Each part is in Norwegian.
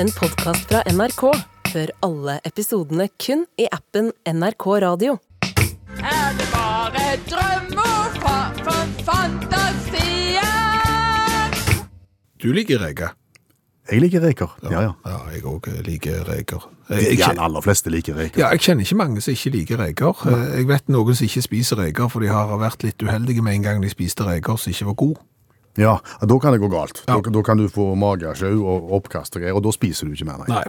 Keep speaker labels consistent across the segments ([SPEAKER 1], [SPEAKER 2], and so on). [SPEAKER 1] en podkast fra NRK. Hør alle episodene kun i appen NRK Radio.
[SPEAKER 2] er det bare drømmer fra for fantasien.
[SPEAKER 3] Du liker reker.
[SPEAKER 4] Jeg liker reker. Ja, ja.
[SPEAKER 3] Ja, jeg òg liker reker. Jeg, jeg,
[SPEAKER 4] De
[SPEAKER 3] kjen-
[SPEAKER 4] aller fleste liker reker.
[SPEAKER 3] ja, jeg kjenner ikke mange som ikke liker reker. Eh, Jeg vet noen som ikke spiser reker, for de har vært litt uheldige med en gang de spiste reker som ikke var god.
[SPEAKER 4] Ja, Da kan det gå galt. Da, da kan du få magesjau og oppkast og greier, og da spiser du ikke mer, nei.
[SPEAKER 3] Nei.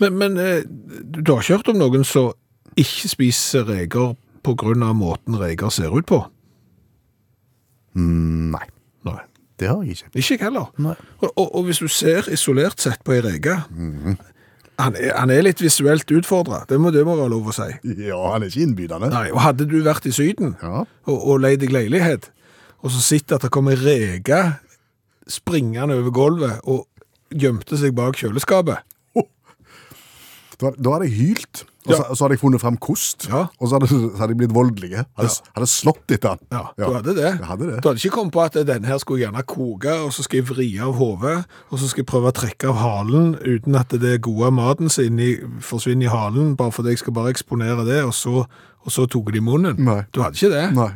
[SPEAKER 3] Men, men eh, du har ikke hørt om noen som ikke spiser reker på grunn av måten reker ser ut på?
[SPEAKER 4] Nei,
[SPEAKER 3] Nei.
[SPEAKER 4] det har jeg ikke.
[SPEAKER 3] Ikke jeg heller.
[SPEAKER 4] Nei.
[SPEAKER 3] Og, og, og hvis du ser isolert sett på ei reke
[SPEAKER 4] Mhm.
[SPEAKER 3] han, er- han er litt visuelt utfordra, det må det må være lov å si.
[SPEAKER 4] Ja, han er ikke innbydende.
[SPEAKER 3] Nei, og hadde du vært i Syden
[SPEAKER 4] Ja.
[SPEAKER 3] og, og leid deg leilighet, og så sitter at det kommer rege springende over gulvet og gjemte seg bak kjøleskapet.
[SPEAKER 4] Da, da hadde jeg hylt, og så,
[SPEAKER 3] Ja.
[SPEAKER 4] så hadde jeg funnet fram kost,
[SPEAKER 3] Ja.
[SPEAKER 4] og så hadde, så hadde jeg blitt voldelige. Hadde, hadde slått etter han.
[SPEAKER 3] Ja, du hadde det.
[SPEAKER 4] Jeg hadde
[SPEAKER 3] Du
[SPEAKER 4] det.
[SPEAKER 3] hadde ikke kommet på at denne her skulle jeg gjerne koke, og så skal jeg vri av hodet, og så skal jeg prøve å trekke av halen uten at det gode av maten som inni- forsvinner i halen, bare fordi jeg skal bare eksponere det, og så, og så tok det i munnen.
[SPEAKER 4] Nei.
[SPEAKER 3] Du hadde ikke det.
[SPEAKER 4] Nei.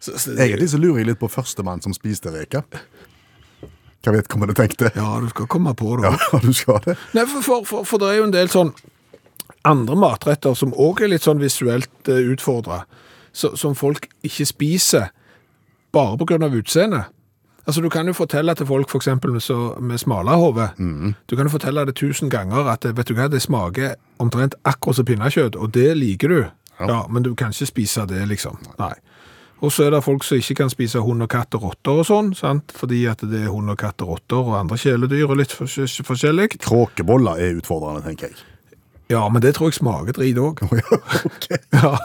[SPEAKER 3] Så- så-
[SPEAKER 4] Egentlig så lurer jeg litt på førstemann som spiste reker. Jeg vet hva det tenkte.
[SPEAKER 3] Ja, du skal komme på det.
[SPEAKER 4] Ja, du skal det.
[SPEAKER 3] Nei, for, for, for, for det er jo en del sånn andre matretter som òg er litt sånn visuelt eh, utfordra, så, som folk ikke spiser bare pga. utseendet. Altså, du kan jo fortelle til folk f.eks. med, så- med smalahove Du kan jo fortelle det tusen ganger at eh, vet du hva, det smaker omtrent akkurat som pinnekjøtt, og det liker du. Ja. Men du kan ikke spise det, liksom. Nei. Og så er det folk som ikke kan spise hund og katt og rotter og sånn, sant? fordi at det er hund og katt og rotter og andre kjæledyr og litt fors- forskjellig.
[SPEAKER 4] Kråkeboller er utfordrende, tenker jeg.
[SPEAKER 3] Ja, men det tror jeg smaker drit òg. ja.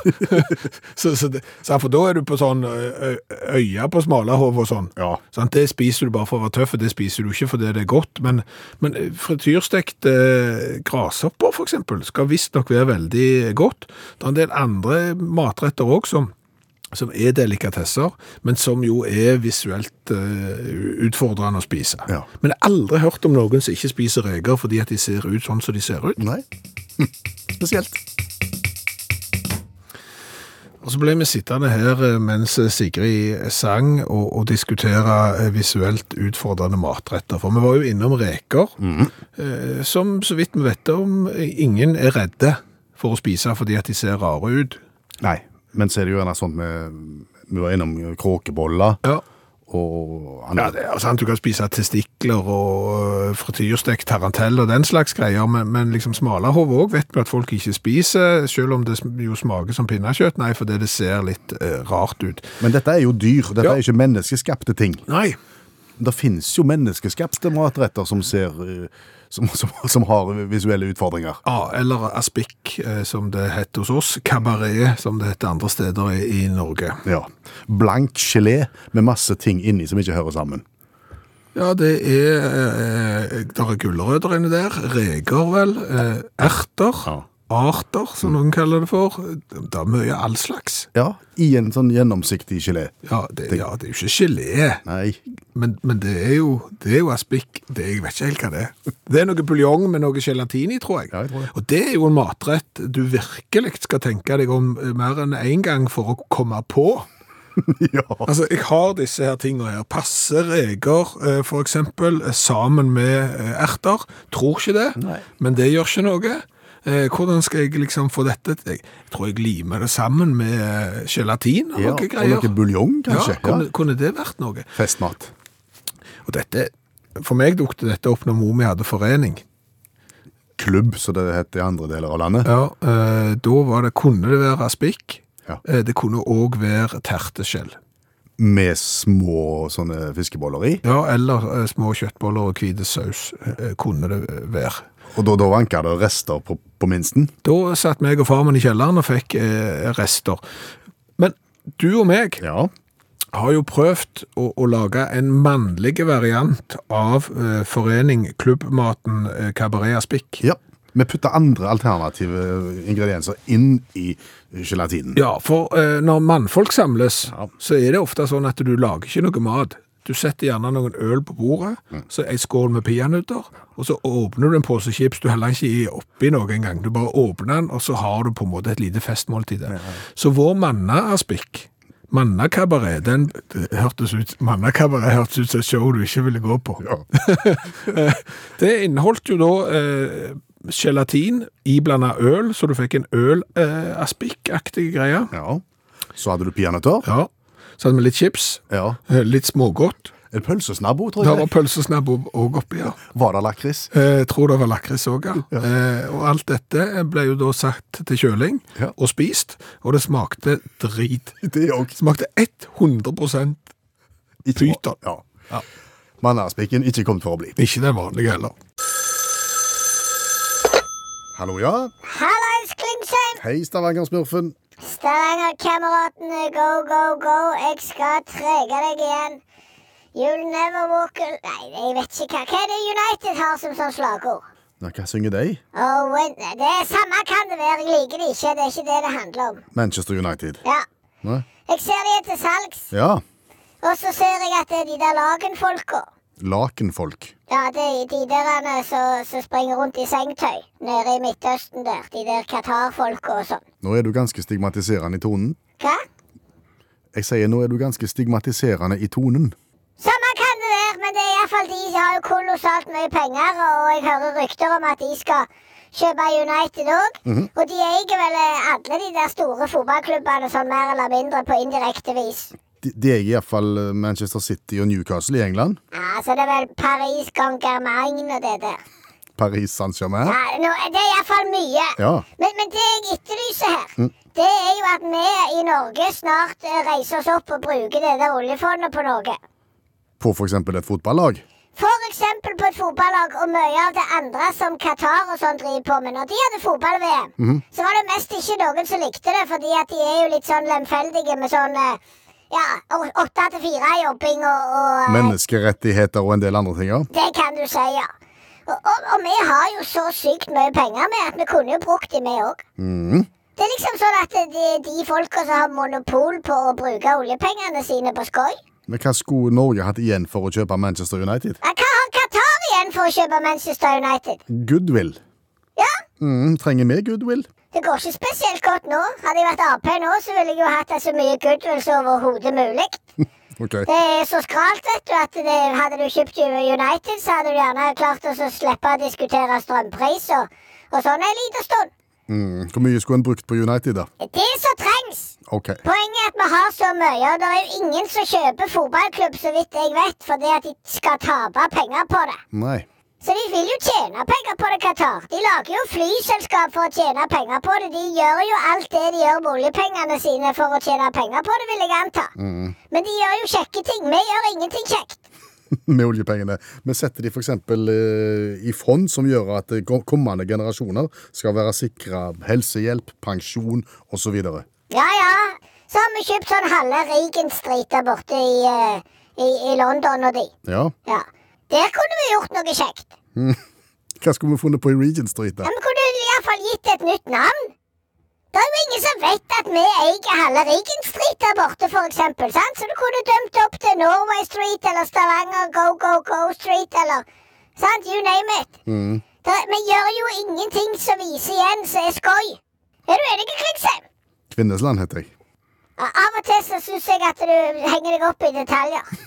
[SPEAKER 3] så, så, det- så, for da er du på sånn ø- ø- øya på smalahove og sånn.
[SPEAKER 4] Ja.
[SPEAKER 3] Sant? det spiser du bare for å være tøff, og det spiser du ikke fordi det er godt. Men, men frityrstekt eh, grashopper, for eksempel, skal visstnok være veldig godt. Det er en del andre matretter òg som, som er delikatesser, men som jo er visuelt eh, utfordrende å spise.
[SPEAKER 4] Ja.
[SPEAKER 3] Men jeg har aldri hørt om noen som ikke spiser reker fordi at de ser ut sånn som de ser ut.
[SPEAKER 4] Nei. Hm. Spesielt.
[SPEAKER 3] Og så ble vi sittende her eh, mens Sigrid sang og, og diskutere eh, visuelt utfordrende matretter. For vi var jo innom reker, eh, som så vidt vi vet om, eh, ingen er redde for å spise fordi at de ser rare ut.
[SPEAKER 4] Nei, men så er det jo gjerne sånn med Vi var innom kråkeboller
[SPEAKER 3] Ja.
[SPEAKER 4] og
[SPEAKER 3] Ja,
[SPEAKER 4] andre.
[SPEAKER 3] det er sant, Du kan spise testikler og eh, frityrstekt tarantell og den slags greier, men, men liksom smalahove òg vet vi at folk ikke spiser, selv om det sm- jo smaker som pinnekjøtt. Nei, fordi det ser litt eh, rart ut.
[SPEAKER 4] Men dette er jo dyr. Dette
[SPEAKER 3] Ja.
[SPEAKER 4] er ikke menneskeskapte ting.
[SPEAKER 3] Nei,
[SPEAKER 4] Det finnes jo menneskeskapte matretter som ser eh, som, som, som har visuelle utfordringer.
[SPEAKER 3] Ja, eller aspik, eh, som det heter hos oss. Kabaret, som det heter andre steder i, i Norge.
[SPEAKER 4] Ja. Blank gelé med masse ting inni som ikke hører sammen.
[SPEAKER 3] Ja, det er, eh, der er gulrøtter inne der, reker vel, eh, erter,
[SPEAKER 4] Ja. Mm.
[SPEAKER 3] arter, som noen kaller det for. Det er mye all slags.
[SPEAKER 4] Ja, I en sånn gjennomsiktig gelé.
[SPEAKER 3] Ja, det, ja, det er jo ikke gelé,
[SPEAKER 4] Nei.
[SPEAKER 3] men, men det, er jo, det er jo aspik. Det, jeg vet ikke helt hva det er. Det er noe buljong med noe gelatin i, tror jeg.
[SPEAKER 4] Ja, jeg tror det.
[SPEAKER 3] Og det er jo en matrett du virkelig skal tenke deg om eh, mer enn én en gang for å komme på.
[SPEAKER 4] Ja.
[SPEAKER 3] Altså, jeg har disse her tingene her. Passe reker, eh, for eksempel, eh, sammen med eh, erter. Tror ikke det,
[SPEAKER 4] Nei.
[SPEAKER 3] men det gjør ikke noe. Eh, Hvordan skal jeg liksom få dette? til- Jeg tror jeg limer det sammen med eh, gelatin og
[SPEAKER 4] ja.
[SPEAKER 3] noe
[SPEAKER 4] Og
[SPEAKER 3] greier.
[SPEAKER 4] noe buljong, kanskje.
[SPEAKER 3] Ja, kunne, kunne det vært noe?
[SPEAKER 4] Festmat.
[SPEAKER 3] Og dette, for meg dukte dette opp når mor mi hadde forening.
[SPEAKER 4] Klubb, som det heter i andre deler av landet.
[SPEAKER 3] Ja, eh, da var det, kunne det være aspik.
[SPEAKER 4] Ja.
[SPEAKER 3] Eh, Det kunne også være terteskjell.
[SPEAKER 4] Med små sånne fiskeboller i.
[SPEAKER 3] Ja, eller eh, små kjøttboller og hvite saus eh, kunne det eh, være.
[SPEAKER 4] Og da, da vanker det rester på, på minsten.
[SPEAKER 3] Da satt meg og far min i kjelleren og fikk eh, rester. Men du og meg
[SPEAKER 4] Ja.
[SPEAKER 3] har jo prøvd å, å lage en mannlig variant av eh, forening klubbmaten eh, Cabaret Aspik.
[SPEAKER 4] ja. Vi putter andre alternative ingredienser inn i gelatinen.
[SPEAKER 3] Ja, for eh, når mannfolk samles,
[SPEAKER 4] Ja.
[SPEAKER 3] så er det ofte sånn at du lager ikke noe mat. Du setter gjerne noen øl på bordet, så ei skål med peanøtter, og så åpner du en pose chips. Du heller ikke i oppi noe engang. Du bare åpner den, og så har du på en måte et lite festmåltid der. Så vår manna-aspikk, manna-kabaret, den det hørtes ut Manna-kabaret hørtes ut som et show du ikke ville gå på. det inneholdt jo da eh, gelatin iblanda øl, så du fikk en øl-aspikk-aktig greie.
[SPEAKER 4] Ja. Så hadde du peanøtter.
[SPEAKER 3] Ja. Så hadde vi litt chips,
[SPEAKER 4] Ja.
[SPEAKER 3] eh, litt smågodt.
[SPEAKER 4] En pølsesnabbo, tror
[SPEAKER 3] Det
[SPEAKER 4] jeg.
[SPEAKER 3] var pølsesnabb òg oppi her.
[SPEAKER 4] Var det lakris?
[SPEAKER 3] Eh, Jeg tror det var lakris òg, ja. Eh, og alt dette ble jo da satt til kjøling
[SPEAKER 4] Ja.
[SPEAKER 3] og spist, og det smakte drit.
[SPEAKER 4] Det òg.
[SPEAKER 3] Det smakte 100 Pyton.
[SPEAKER 4] Ja. Mannaspikken ikke kommet for å bli.
[SPEAKER 3] ikke den vanlige heller.
[SPEAKER 4] Hallo, ja.
[SPEAKER 5] Hallais, Klingsheim!
[SPEAKER 4] Hei, Stavanger-smurfen.
[SPEAKER 5] Stavangerkameratene, go, go, go. Jeg skal trege deg igjen. You'll never walk al... Nei, jeg vet ikke hva. Hva er det United har som sånn slagord?
[SPEAKER 4] Ja, hva synger de?
[SPEAKER 5] Oh, win. Det er samme kan det være. Jeg liker det ikke. Det er ikke det det handler om.
[SPEAKER 4] Manchester United.
[SPEAKER 5] Ja.
[SPEAKER 4] Nei?
[SPEAKER 5] Jeg ser de er til salgs,
[SPEAKER 4] Ja.
[SPEAKER 5] og så ser jeg at det er de der Lagen-folka.
[SPEAKER 4] Lakenfolk.
[SPEAKER 5] Ja, det er de der eh, som som springer rundt i sengtøy nede i Midtøsten der. De der Qatar-folka og sånn.
[SPEAKER 4] Nå er du ganske stigmatiserende i tonen.
[SPEAKER 5] Hva?
[SPEAKER 4] Jeg sier nå er du ganske stigmatiserende i tonen.
[SPEAKER 5] Samme kan det være, men det er i hvert fall de som har jo kolossalt mye penger, og jeg hører rykter om at de skal kjøpe United òg. Og de eier vel eh, alle de der store fotballklubbene sånn mer eller mindre på indirekte vis.
[SPEAKER 4] De, de er iallfall eh, Manchester City og Newcastle i England.
[SPEAKER 5] Ja, så Altså, det er vel Paris Grand Germain og det der.
[SPEAKER 4] Paris Saint-Germain.
[SPEAKER 5] Ja, nå, det er iallfall mye.
[SPEAKER 4] Ja.
[SPEAKER 5] Men, men det jeg etterlyser her, det er jo at vi i Norge snart eh, reiser oss opp og bruker det der oljefondet på noe.
[SPEAKER 4] På f.eks. et fotballag.
[SPEAKER 5] For eksempel på et fotballag og mye av det andre som Qatar og sånn driver på med. Når de hadde fotball-VM, så var det mest ikke noen som likte det, fordi at de er jo litt sånn lemfeldige med sånn eh, ja, å- åtte til fire-jobbing og, og eh,
[SPEAKER 4] Menneskerettigheter og en del andre ting. ja.
[SPEAKER 5] Det kan du si, ja. Og, og, og vi har jo så sykt mye penger med at vi kunne jo brukt de, vi òg. Det er liksom sånn at det er de folka som har monopol på å bruke oljepengene sine på skøy
[SPEAKER 4] Men hva skulle Norge hatt igjen for å kjøpe Manchester United?
[SPEAKER 5] Ja, Hva har Qatar igjen for å kjøpe Manchester United?
[SPEAKER 4] Goodwill.
[SPEAKER 5] Ja,
[SPEAKER 4] Mm, trenger vi goodwill?
[SPEAKER 5] Det går ikke spesielt godt nå. Hadde jeg vært Ap nå, så ville jeg jo hatt det så mye goodwill som overhodet mulig.
[SPEAKER 4] Ok.
[SPEAKER 5] Det er så skralt, vet du, at det, hadde du kjøpt United, så hadde du gjerne klart å så slippe å diskutere strømpris og, og sånn en liten stund.
[SPEAKER 4] Mm, hvor mye skulle en brukt på United, da?
[SPEAKER 5] Det som trengs.
[SPEAKER 4] Ok.
[SPEAKER 5] Poenget er at vi har så mye, og det er jo ingen som kjøper fotballklubb, så vidt jeg vet, fordi at de skal tape penger på det.
[SPEAKER 4] Nei.
[SPEAKER 5] Så de vil jo tjene penger på det, Qatar. De lager jo flyselskap for å tjene penger på det. De gjør jo alt det de gjør med oljepengene sine for å tjene penger på det, vil jeg anta. Men de gjør jo kjekke ting. Vi gjør ingenting kjekt.
[SPEAKER 4] Med oljepengene. Vi setter de f.eks. Eh, i fond som gjør at eh, kom- kommende generasjoner skal være sikra helsehjelp, pensjon osv.
[SPEAKER 5] Ja, ja. Så har vi kjøpt sånn halve Regenstreet der borte i, eh, i, i London og de.
[SPEAKER 4] Ja.
[SPEAKER 5] Ja. Der kunne vi gjort noe kjekt.
[SPEAKER 4] Hva skulle vi funnet på i Regent Street, da?
[SPEAKER 5] Ja, men kunne du iallfall gitt et nytt navn? Det er jo ingen som vet at vi eier halve Rigen Street der borte, for eksempel, sant? Så du kunne dømt opp til Norway Street eller Stavanger Go Go Go Street eller Sant? You name it. Det, vi gjør jo ingenting som viser igjen som er skøy. Er du enig, Klingsheim?
[SPEAKER 4] Kvinnesland heter jeg.
[SPEAKER 5] Ja, Av og til så syns jeg at du henger deg opp i detaljer.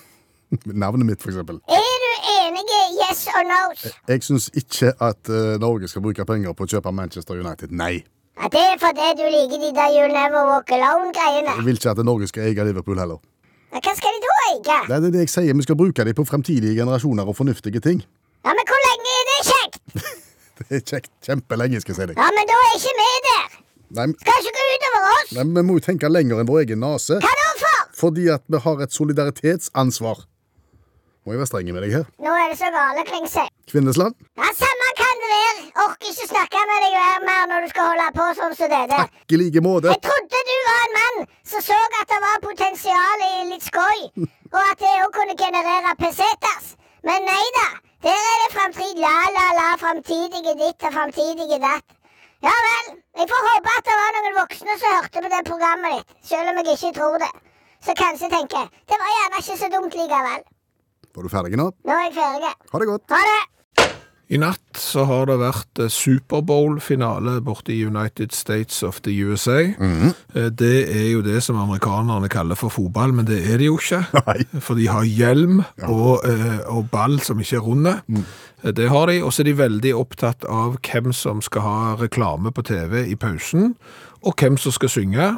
[SPEAKER 4] Navnet mitt, f.eks.
[SPEAKER 5] Er du enig? Yes or nos?
[SPEAKER 4] Jeg syns ikke at eh, Norge skal bruke penger på å kjøpe Manchester United. Nei.
[SPEAKER 5] Ja, det er fordi du liker de der You'll Never Walk Alone-greiene.
[SPEAKER 4] Jeg vil ikke at Norge skal eie Liverpool heller.
[SPEAKER 5] Ja, Hva skal de da eie?
[SPEAKER 4] Nei, det er det jeg sier. Vi skal bruke dem på fremtidige generasjoner og fornuftige ting.
[SPEAKER 5] Ja, men hvor lenge er det kjekt?
[SPEAKER 4] Det er kjekt. Kjempelenge, skal jeg si deg.
[SPEAKER 5] Ja, men da er ikke vi der.
[SPEAKER 4] Nei, men-
[SPEAKER 5] Skal ikke gå utover oss.
[SPEAKER 4] nei, men vi må jo tenke lenger enn vår egen nese.
[SPEAKER 5] Hva da for?
[SPEAKER 4] Fordi at vi har et solidaritetsansvar. Må jeg være streng med deg her?
[SPEAKER 5] Nå er det så gale Klingsheim.
[SPEAKER 4] Kvinnesland?
[SPEAKER 5] Ja, samme kan det være. Orker ikke snakke med deg mer- mer når du skal holde på sånn som det der.
[SPEAKER 4] Takk i like måte.
[SPEAKER 5] Jeg trodde du var en mann som så at det var potensial i litt skøy, og at det òg kunne generere pesetas. Men nei da. Der er det framtid. La, la, la. Framtidige ditt og framtidige datt. Ja vel. Jeg får håpe at det var noen voksne som hørte på det programmet ditt, selv om jeg ikke tror det. Så kanskje tenker jeg det var gjerne ikke så dumt likevel.
[SPEAKER 4] Da er du ferdig nå.
[SPEAKER 5] Nå er jeg ferdig.
[SPEAKER 4] Ha det godt.
[SPEAKER 5] Ha det!
[SPEAKER 3] I natt så har det vært eh, Superbowl-finale borte i United States of the USA. Eh, Det er jo det som amerikanerne kaller for fotball, men det er det jo ikke.
[SPEAKER 4] Nei.
[SPEAKER 3] For de har hjelm og, eh, og ball som ikke er runde. Eh, Det har de. Og så er de veldig opptatt av hvem som skal ha reklame på TV i pausen, og hvem som skal synge.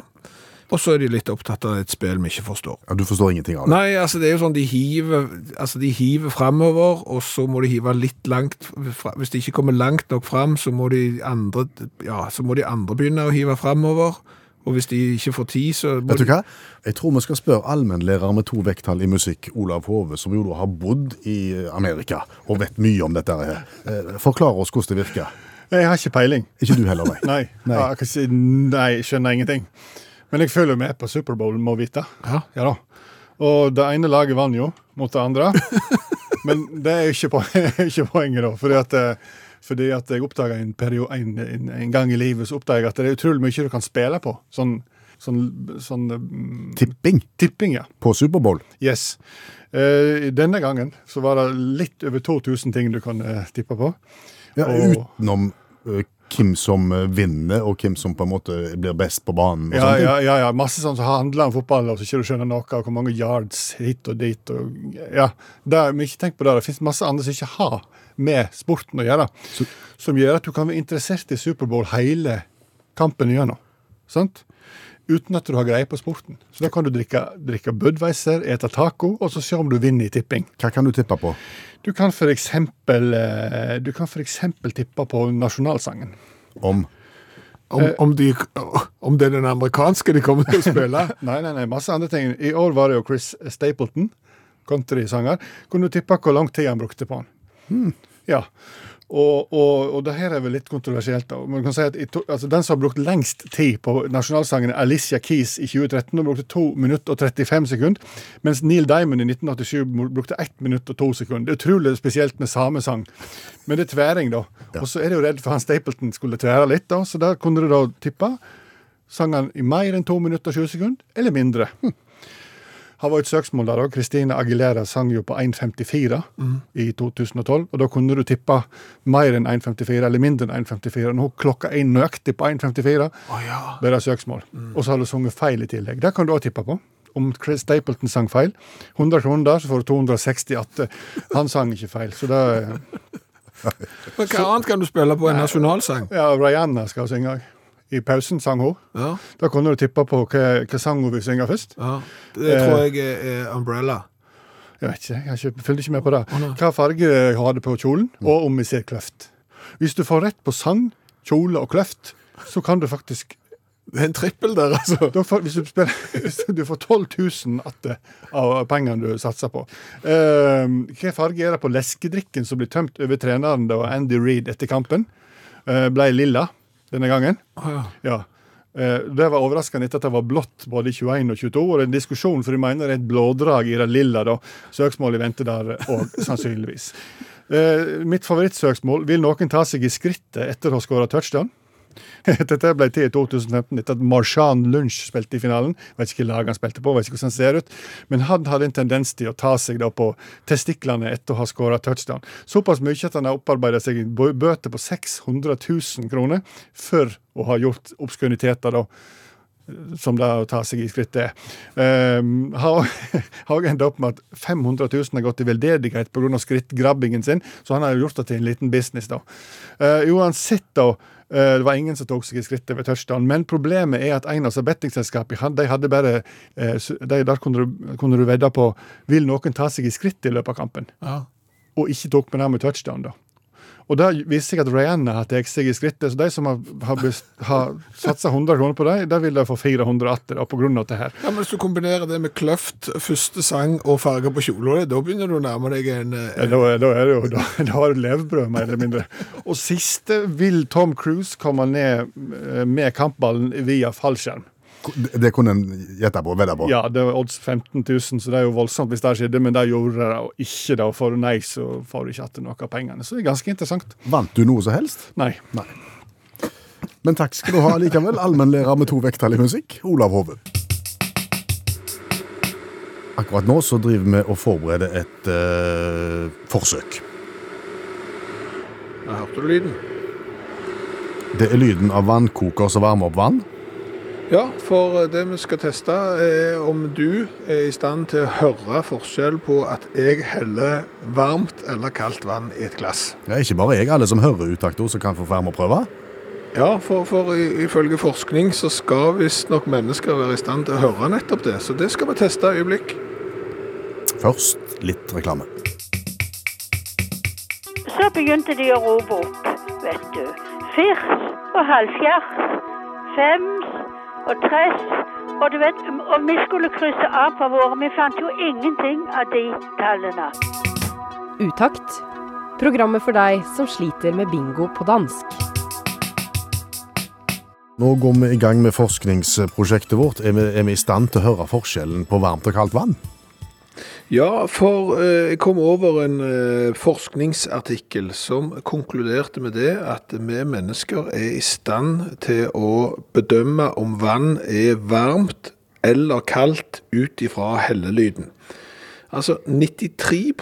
[SPEAKER 3] Og så er de litt opptatt av et spill vi ikke forstår.
[SPEAKER 4] Ja, du forstår ingenting av det.
[SPEAKER 3] Nei, altså det er jo sånn de hiver, altså de hiver fremover, og så må de hive litt langt fra, Hvis de ikke kommer langt nok frem, så må de andre, ja, så må de andre begynne å hive fremover. Og hvis de ikke får tid, så må
[SPEAKER 4] Vet du
[SPEAKER 3] de,
[SPEAKER 4] hva? Jeg tror vi skal spørre allmennlærer med to vekttall i musikk, Olav Hove, som jo da har bodd i eh, Amerika og vet mye om dette her. Eh, Forklar oss hvordan det virker.
[SPEAKER 6] Jeg har ikke peiling.
[SPEAKER 4] Ikke du heller, nei.
[SPEAKER 6] Nei,
[SPEAKER 4] Nei.
[SPEAKER 6] Ja, jeg kan si, nei jeg skjønner ingenting. Men jeg følger jo med på Superbowl, må vite.
[SPEAKER 3] Ja.
[SPEAKER 6] da. Og det ene laget vant jo mot det andre. Men det er jo ikke, po ikke poenget, da. Fordi at, eh, fordi at jeg oppdaga en, perio- en, en, en gang i livet så oppdaget jeg at det er utrolig mye du kan spille på. Sånn, sånn, sånn mm,
[SPEAKER 4] Tipping
[SPEAKER 6] tipping, ja.
[SPEAKER 4] på Superbowl.
[SPEAKER 6] Yes. Eh, denne gangen så var det litt over 2000 ting du kan eh, tippe på.
[SPEAKER 4] Ja,
[SPEAKER 6] Åh.
[SPEAKER 4] Utenom eh, hvem som eh, vinner, og hvem som på en måte blir best på banen. Og
[SPEAKER 6] Ja,
[SPEAKER 4] sånne ting.
[SPEAKER 6] ja, ja, ja, masse sånn som handler om fotball, og så ikke du skjønner noe, og hvor mange yards hit og dit. Og, ja, det, men ikke tenk på det, det finnes masse andre som ikke har med sporten å gjøre, som gjør at du kan være interessert i Superbowl hele kampen igjennom. Sant? Uten at du har greie på sporten. Så da kan du drikke, drikke Budweiser, ete taco, og så se om du vinner i tipping.
[SPEAKER 4] Hva kan du tippe på?
[SPEAKER 6] Du kan for eksempel, eh, du kan for eksempel tippe på nasjonalsangen.
[SPEAKER 4] Om
[SPEAKER 3] om, om, de, om det er den amerikanske de kommer til å spille.
[SPEAKER 6] Nei, nei, nei, masse andre ting. I år var det jo Chris Stapleton, countrysanger. Kunne du tippe hvor lang tid han brukte på han? Ja. Og, og, og det her er vel litt kontroversielt, da. Men du kan si at i to, altså, Den som har brukt lengst tid på nasjonalsangen, er Alicia Keys i 2013. Hun brukte 2 minutter og 35 sekunder. Mens Neil Diamond i 1987 brukte 1 minutt og 2 sekunder. Det er utrolig spesielt med samesang. Men det er tværing, da. Og så er du jo redd for han Stapleton skulle tvære litt, da. Så der kunne du da tippe sang han i mer enn 2 minutter og 20 sekunder, eller mindre. Hm. Han var jo et søksmål der òg. Christina Aguilera sang jo på 1,54 i 2012. Og da kunne du tippe mer enn 1,54 eller mindre enn 1,54. Nå klokka er nøyaktig på 1,54. Det er det søksmål. Og så har du sunget feil i tillegg. Det kan du òg tippe på. Om Chris Stapleton sang feil. 100 kroner der, så får du 260 atter. Han sang ikke feil. Så det
[SPEAKER 3] Men hva annet kan du spille på en nasjonalsang?
[SPEAKER 6] Ja, Rihanna skal synge òg. I pausen sang hun.
[SPEAKER 3] Ja,
[SPEAKER 6] Da kunne du tippe på hva, hva sang hun vil synge først.
[SPEAKER 3] ja. Eh. Det tror jeg er, er Umbrella.
[SPEAKER 6] Jeg vet ikke, jeg har ikke, følger ikke med på det. Hva farge har det på kjolen,
[SPEAKER 3] Mm.
[SPEAKER 6] og om vi ser kløft. Hvis du får rett på sang, kjole og kløft, så kan du faktisk
[SPEAKER 3] Det er en trippel der, altså.
[SPEAKER 6] da får, hvis, du spiller, hvis du får 12 000 atter av pengene du satser på. Eh, hva farge er det på leskedrikken som blir tømt over treneren da Andy Reid etter kampen? Eh, ble lilla denne gangen. Ja. Eh, Det var overraskende etter at det var blått både i 21 og 22. Og det er en diskusjon, for de mener det er et blådrag i det lilla. da. Søksmålet venter der òg, sannsynligvis. Eh, Mitt favorittsøksmål vil noen ta seg i skrittet etter å ha skåra touchdown. Dette ble til i 2015 etter at Marshan Lunch spilte i finalen. Vet ikke hvilket lag han spilte på, vet ikke hvordan han ser ut. Men han hadde en tendens til å ta seg da på testiklene etter å ha skåra touchdown. Såpass mye at han har opparbeida seg en bø- bøte på 600 000 kroner for å ha gjort obskøniteter, da. Som det å ta seg i skrittet er. Um, har har endt opp med at 500 000 har gått i veldedighet pga. skrittgrabbingen sin, så han har jo gjort det til en liten business, da. Eh, uansett, da. Eh, Det var ingen som tok seg i skrittet ved touchdown, men problemet er at en av bettingselskapene han- de hadde bare eh, su- de, Der kunne du, kunne du vedde på vil noen ta seg i skrittet i løpet av kampen,
[SPEAKER 3] Ja.
[SPEAKER 6] og ikke tok med det med touchdown. da. Og det viser seg at Rihanna har tatt seg i skrittet, så de som har, har, bes- har satsa 100 kroner på dem, de vil de få 400 atter da, på grunn av det her.
[SPEAKER 3] Ja, men Hvis du kombinerer det med kløft, første sang og farger på kjolen, da begynner du å nærme deg en eh,
[SPEAKER 6] Ja, da, er- da er det jo da, da har du levebrød, mer eller mindre. Og siste vil Tom Cruise komme ned eh, med kampballen via fallskjerm.
[SPEAKER 4] Det- Det kunne en gjette på, vedde på.
[SPEAKER 6] Ja, det var odds 15 000, så det er jo voldsomt hvis det skjedde, men det gjorde det og ikke. da, Får du nei, så får du ikke igjen noe av pengene. Så det er ganske interessant.
[SPEAKER 4] Vant du noe som helst?
[SPEAKER 6] Nei.
[SPEAKER 4] Nei. Men takk skal du ha likevel, allmennlærer med to vekttall i musikk, Olav Hove. Akkurat nå så driver vi og forbereder et eh, forsøk.
[SPEAKER 3] Jeg hørte du lyden?
[SPEAKER 4] Det er lyden av vannkoker som varmer opp vann.
[SPEAKER 3] Ja, for eh, det vi skal teste er om du er i stand til å høre forskjell på at jeg heller varmt eller kaldt vann i et glass.
[SPEAKER 4] Ja, ikke bare jeg, alle som hører utakto, som kan få være med og prøve.
[SPEAKER 3] Ja, for, for i- ifølge forskning så skal visstnok mennesker være i stand til å høre nettopp det, så det skal vi teste et øyeblikk.
[SPEAKER 4] Først litt reklame.
[SPEAKER 7] Så begynte de å rope opp, vet du. Firs og halvfjerds, fems og tress. Og du vet, om vi skulle krysse av på våre, vi fant jo ingenting av de tallene.
[SPEAKER 8] Utakt. Programmet for deg som sliter med bingo på dansk.
[SPEAKER 4] Nå går vi i gang med forskningsprosjektet vårt. Er vi, er vi i stand til å høre forskjellen på varmt og kaldt vann?
[SPEAKER 3] Ja, for eh, jeg kom over en eh, forskningsartikkel som konkluderte med det at vi mennesker er i stand til å bedømme om vann er varmt eller kaldt ut ifra hellelyden. Altså 93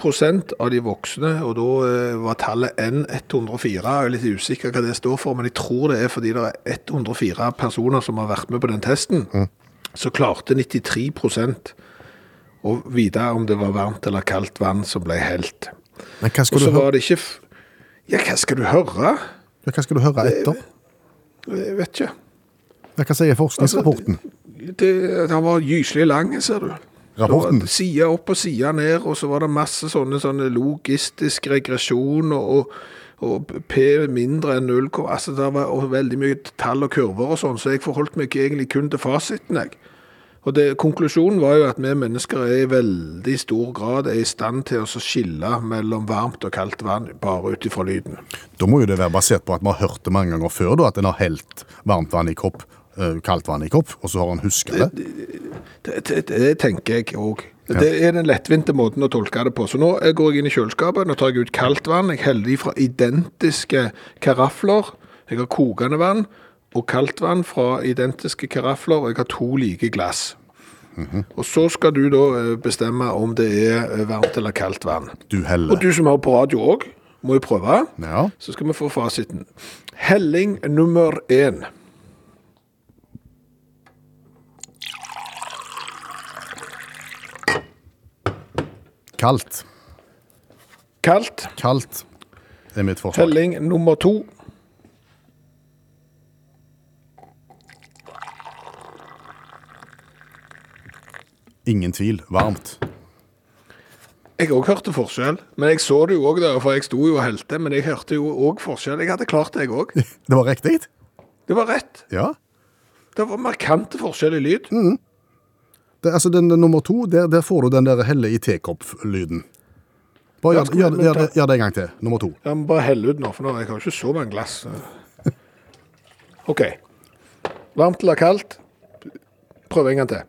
[SPEAKER 3] av de voksne, og da eh, var tallet N104, jeg er litt usikker hva det står for, men jeg tror det er fordi det er 104 personer som har vært med på den testen, så klarte 93 og vite om det var varmt eller kaldt vann som ble helt.
[SPEAKER 4] Men hva
[SPEAKER 3] Og
[SPEAKER 4] skal,
[SPEAKER 3] så
[SPEAKER 4] du høre,
[SPEAKER 3] var det ikke f Ja, hva skal du høre?
[SPEAKER 4] ja, hva skal du høre etter?
[SPEAKER 3] Jeg vet ikke.
[SPEAKER 4] Ja, Hva sier forskningsrapporten?
[SPEAKER 3] Det, den var gyselig lang, ser du.
[SPEAKER 4] Rapporten?
[SPEAKER 3] Det var Side opp og side ned, og så var det masse sånne, sånne logistisk regresjon og, og, og P mindre enn 0, altså det var og veldig mye tall og kurver og sånn, så jeg forholdt meg ikke egentlig kun til fasiten, jeg. Og det, konklusjonen var jo at vi mennesker er i veldig stor grad er i stand til å så skille mellom varmt og kaldt vann bare ut ifra lyden.
[SPEAKER 4] Da må jo det være basert på at vi har hørt det mange ganger før, da, at en har helt varmt vann i kopp, eh, kaldt vann i kopp, og så har en husket det.
[SPEAKER 3] Det, det, det tenker jeg òg. Det er den lettvinte måten å tolke det på. Så nå eh, går jeg inn i kjøleskapet, nå tar jeg ut kaldt vann. Jeg heller de fra identiske karafler. Jeg har kokende vann og kaldt vann fra identiske karafler. og Jeg har to like glass. Og så skal du da eh, bestemme om det er eh, varmt eller kaldt vann.
[SPEAKER 4] Du heller.
[SPEAKER 3] Og du som har på radio òg, må jo prøve.
[SPEAKER 4] Ja.
[SPEAKER 3] Så skal vi få fasiten. Helling nummer én.
[SPEAKER 4] Kaldt.
[SPEAKER 3] Kaldt.
[SPEAKER 4] Kaldt er mitt forslag.
[SPEAKER 3] Telling nummer to.
[SPEAKER 4] Ingen tvil. Varmt.
[SPEAKER 3] Jeg òg hørte forskjell, men jeg så det jo òg der, for jeg sto jo og helte. Men jeg hørte jo òg forskjell. Jeg hadde klart det, jeg òg.
[SPEAKER 4] Det var riktig?
[SPEAKER 3] Det var rett.
[SPEAKER 4] Ja.
[SPEAKER 3] Det var markante forskjell i lyd.
[SPEAKER 4] Det, altså den, den nummer to, der, der får du den der helle i tekopp-lyden. Bare
[SPEAKER 3] Ja,
[SPEAKER 4] gjør,
[SPEAKER 3] skal vi-
[SPEAKER 4] gjør,
[SPEAKER 3] men
[SPEAKER 4] gjør,
[SPEAKER 3] da-
[SPEAKER 4] det- gjør det en gang til. Nummer to.
[SPEAKER 3] Jeg må bare helle ut nå, for nå jeg har jo ikke så mange glass. OK. Varmt eller kaldt? Prøv en gang til.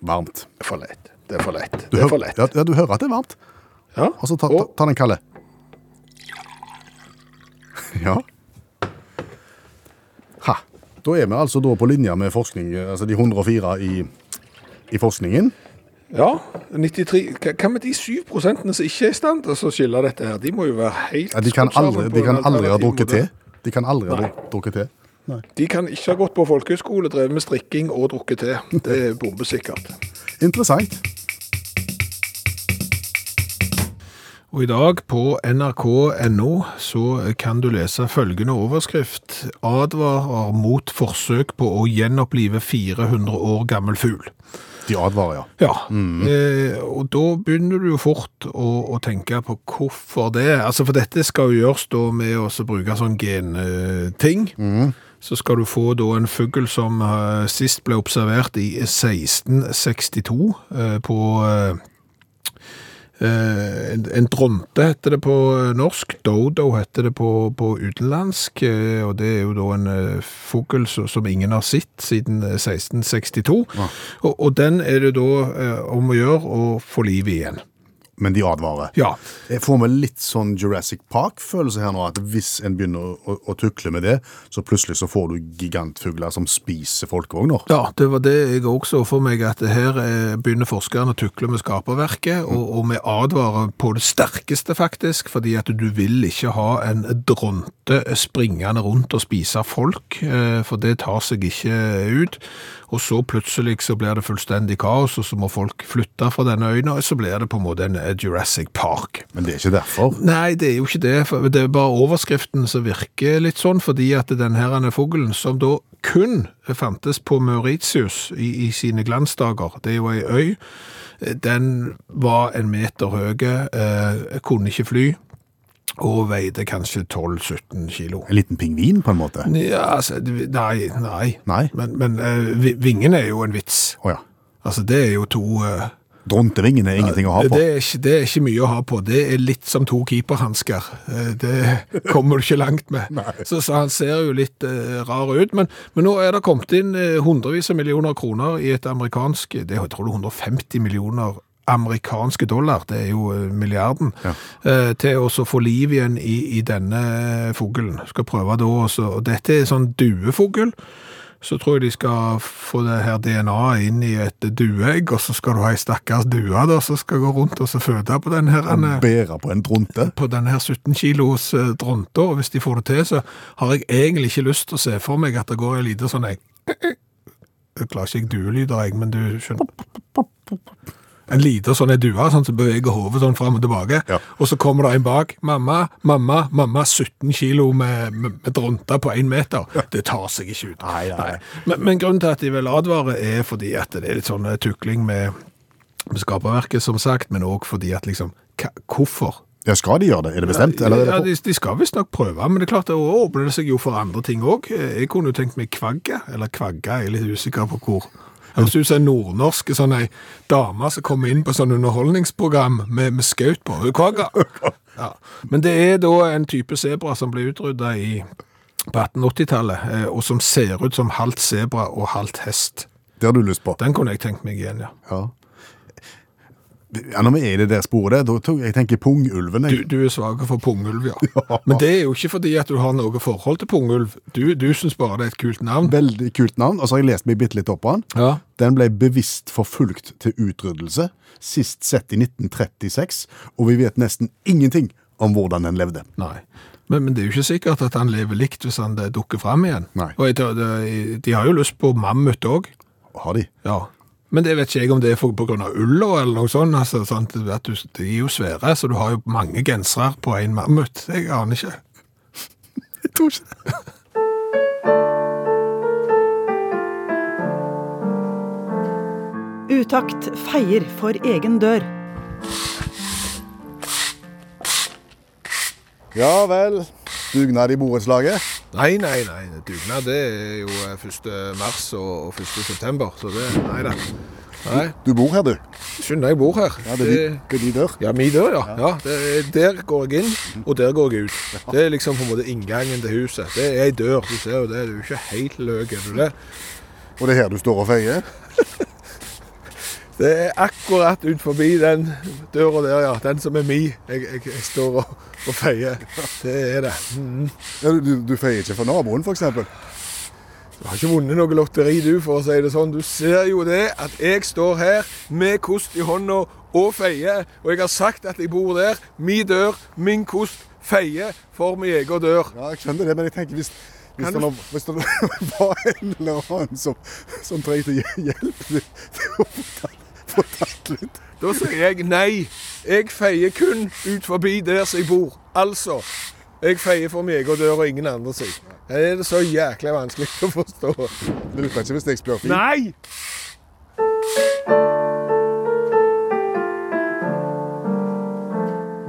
[SPEAKER 4] Varmt.
[SPEAKER 3] Det er for lett. Det er for lett.
[SPEAKER 4] Du,
[SPEAKER 3] Det er for
[SPEAKER 4] hører-
[SPEAKER 3] lett.
[SPEAKER 4] ja, altså ja, du hører at det er varmt.
[SPEAKER 3] Ja.
[SPEAKER 4] Og så ta, ta,
[SPEAKER 3] Og
[SPEAKER 4] ta den kalde. ja. Ha. Da er vi altså da på linje med forskning, altså de 104 i, i forskningen.
[SPEAKER 3] ja, 93 Hva- Hva med de 7 prosentene som ikke er i stand til å skille dette her? De må jo være helt
[SPEAKER 4] Ja, de kan
[SPEAKER 3] skrudd sammen
[SPEAKER 4] aldri,
[SPEAKER 3] på
[SPEAKER 4] de
[SPEAKER 3] en
[SPEAKER 4] kan aldri ha
[SPEAKER 3] alternativ
[SPEAKER 4] drukket
[SPEAKER 3] modell.
[SPEAKER 4] te. De kan aldri ha dru- drukket te.
[SPEAKER 3] De kan ikke ha gått på folkehøyskole, drevet med strikking og drukket te. Det er bombesikkert.
[SPEAKER 4] Interessant.
[SPEAKER 3] Og i dag på nrk.no så kan du lese følgende overskrift. Advarer mot forsøk på å gjenopplive 400 år gammel fugl.
[SPEAKER 4] De advarer, ja.
[SPEAKER 3] Ja, eh, og da begynner du jo fort å, å tenke på hvorfor det. Altså for dette skal jo gjøres da med å så bruke sånn genting. Så skal du få da en fugl som eh, sist ble observert i 1662 eh, på eh, Eh, en, en dronte heter det på eh, norsk, dodo heter det på, på utenlandsk, eh, og det er jo da en eh, fugl som, som ingen har sett siden eh, 1662. Og, og den er det da eh, om å gjøre å få liv i igjen.
[SPEAKER 4] men de advarer.
[SPEAKER 3] Ja.
[SPEAKER 4] Jeg får med litt sånn Jurassic Park-følelse her nå, at hvis en begynner å, å, å tukle med det, så plutselig så får du gigantfugler som spiser folkevogner.
[SPEAKER 3] ja, det var det jeg også så for meg, at her eh, begynner forskerne å tukle med skaperverket, og, og vi advarer på det sterkeste faktisk, fordi at du vil ikke ha en dronte springende rundt og spise folk, eh, for det tar seg ikke ut. Og så plutselig så blir det fullstendig kaos, og så må folk flytte fra denne øyne, og så blir det på en måte en eh, Jurassic Park.
[SPEAKER 4] Men det er ikke derfor.
[SPEAKER 3] Nei, det er jo ikke det. for Det er bare overskriften som virker litt sånn, fordi at den her ene fuglen, som da kun fantes på Mauritius i, i sine glansdager, det er jo ei øy, eh, den var en meter høy, eh, kunne ikke fly, og veide kanskje 12-17 kilo.
[SPEAKER 4] En liten pingvin, på en måte. Å
[SPEAKER 3] Ja, altså, det- nei, nei.
[SPEAKER 4] Nei.
[SPEAKER 3] Men, men eh, vi- vingen er jo en vits.
[SPEAKER 4] ja.
[SPEAKER 3] Altså, det er jo to... Eh,
[SPEAKER 4] Drontevingene er ingenting å ha på.
[SPEAKER 3] det er, ikke, det er ikke mye å ha på. Det er litt som to keeperhansker. Eh, Det kommer du ikke langt med. Så, så han ser jo litt eh, rar ut. Men, men nå er det kommet inn eh, hundrevis av millioner kroner i et amerikansk Det er, tror du 150 millioner amerikanske dollar, det er jo eh, milliarden, eh, til å så få liv igjen i, i denne fuglen. Skal prøve da også. og Dette er sånn duefugl så tror jeg de skal få det her DNA-et inn i et dueegg, og så skal du ha ei stakkars due da, som skal gå rundt og så føde på den her, eh, ene-
[SPEAKER 4] Bære på en dronte.
[SPEAKER 3] på den her 17 kilos eh, dronta, og hvis de får det til, så har jeg egentlig ikke lyst til å se for meg at det går en liten sånn jeg, jeg klarer ikke jeg duelyder, jeg, men du skjønner. En liten sånn ei due sånn, som beveger hodet sånn fram og tilbake,
[SPEAKER 4] Ja.
[SPEAKER 3] og så kommer det en bak. 'Mamma, mamma, mamma, 17 kilo med, med, med dronta på én meter.' Det tar seg ikke ut.
[SPEAKER 4] Nei, nei, nei.
[SPEAKER 3] Men, men grunnen til at de vil advare, er fordi at det er litt sånn eh, tukling med, med skaperverket, som sagt, men òg fordi at liksom hva, Hvorfor?
[SPEAKER 4] Ja, skal de gjøre det? Er det bestemt? Eller er
[SPEAKER 3] Ja,
[SPEAKER 4] det
[SPEAKER 3] de, de skal visstnok prøve, men det er klart det åpner det seg jo for andre ting òg. Jeg kunne jo tenkt meg kvagge, eller kvagge, jeg er litt usikker på hvor. Høres ut som en nordnorsk sånn ei dame som kommer inn på sånn underholdningsprogram med, med skaut på. Hun kvagga. Ja. Men det er da en type sebra som ble utrydda i på 1880-tallet, eh, og som ser ut som halvt sebra og halvt hest.
[SPEAKER 4] på? Det har du lyst på?
[SPEAKER 3] Den kunne jeg tenkt meg igjen, ja.
[SPEAKER 4] Ja. ja når vi er i det der sporet, der, da tror jeg jeg tenker pungulven.
[SPEAKER 3] Du,
[SPEAKER 4] Jeg.
[SPEAKER 3] du er svak for pungulv, ja. Men det er jo ikke fordi at du har noe forhold til pungulv. Du, du syns bare det er et kult navn.
[SPEAKER 4] Veldig kult navn. Og så har jeg lest meg bitte litt opp på den.
[SPEAKER 3] Ja.
[SPEAKER 4] Den ble bevisst forfulgt til utryddelse, sist sett i 1936, og vi vet nesten ingenting om hvordan den levde.
[SPEAKER 3] Nei. Men, men det er jo ikke sikkert at han lever likt hvis han eh, dukker fram igjen.
[SPEAKER 4] Nei.
[SPEAKER 3] Og jeg, tror det- de har jo lyst på mammut òg.
[SPEAKER 4] Har de?
[SPEAKER 3] Ja. Men det vet ikke jeg om det er for, på grunn av ulla eller noe sånt. Altså, sant? At du, de er jo svære, så du har jo mange gensere på én mammut. Jeg aner ikke.
[SPEAKER 4] Jeg tror ikke det.
[SPEAKER 9] Utakt feier for egen dør.
[SPEAKER 4] Ja vel. Dugnad i borettslaget?
[SPEAKER 3] Nei, nei, nei. Dugnad det er jo 1. mars og 1. september, så det Nei da. Nei,
[SPEAKER 4] Du bor her, du.
[SPEAKER 3] Skynd deg, jeg bor her.
[SPEAKER 4] Ja, det er
[SPEAKER 3] Eh.
[SPEAKER 4] din, det er din dør.
[SPEAKER 3] Ja, min dør, ja. ja. det, der går jeg inn, og der går jeg ut. Det er liksom på en måte inngangen til huset. Det er ei dør, du ser jo det. Du er jo ikke helt løk, er du det?
[SPEAKER 4] Og det er her du står og feier?
[SPEAKER 3] Det er akkurat ut forbi den døra der, ja. Den som er mi. Jeg, jeg, jeg står og, og feier. Det er det. Mhm.
[SPEAKER 4] Ja, du, du feier ikke for naboen, f.eks.?
[SPEAKER 3] Du har ikke vunnet noe lotteri, du, for å si det sånn. Du ser jo det at jeg står her med kost i hånda og feier. Og jeg har sagt at jeg bor der. Mi dør, min kost. Feier for min egen dør.
[SPEAKER 4] Ja, jeg skjønner det, men jeg tenker hvis, hvis,
[SPEAKER 3] Kan
[SPEAKER 4] det,
[SPEAKER 3] du-
[SPEAKER 4] nå- hvis det nå var en eller annen som, som trengte hje- hjelp til til å få tatt- få tatt litt
[SPEAKER 3] Da sier jeg nei. Jeg feier kun ut forbi der som jeg bor. Altså. Jeg feier for meg egen dør og ingen andre sin. Det er det så jækla vanskelig å forstå.
[SPEAKER 4] Det lukter ikke hvis jeg spør fint.
[SPEAKER 3] Nei!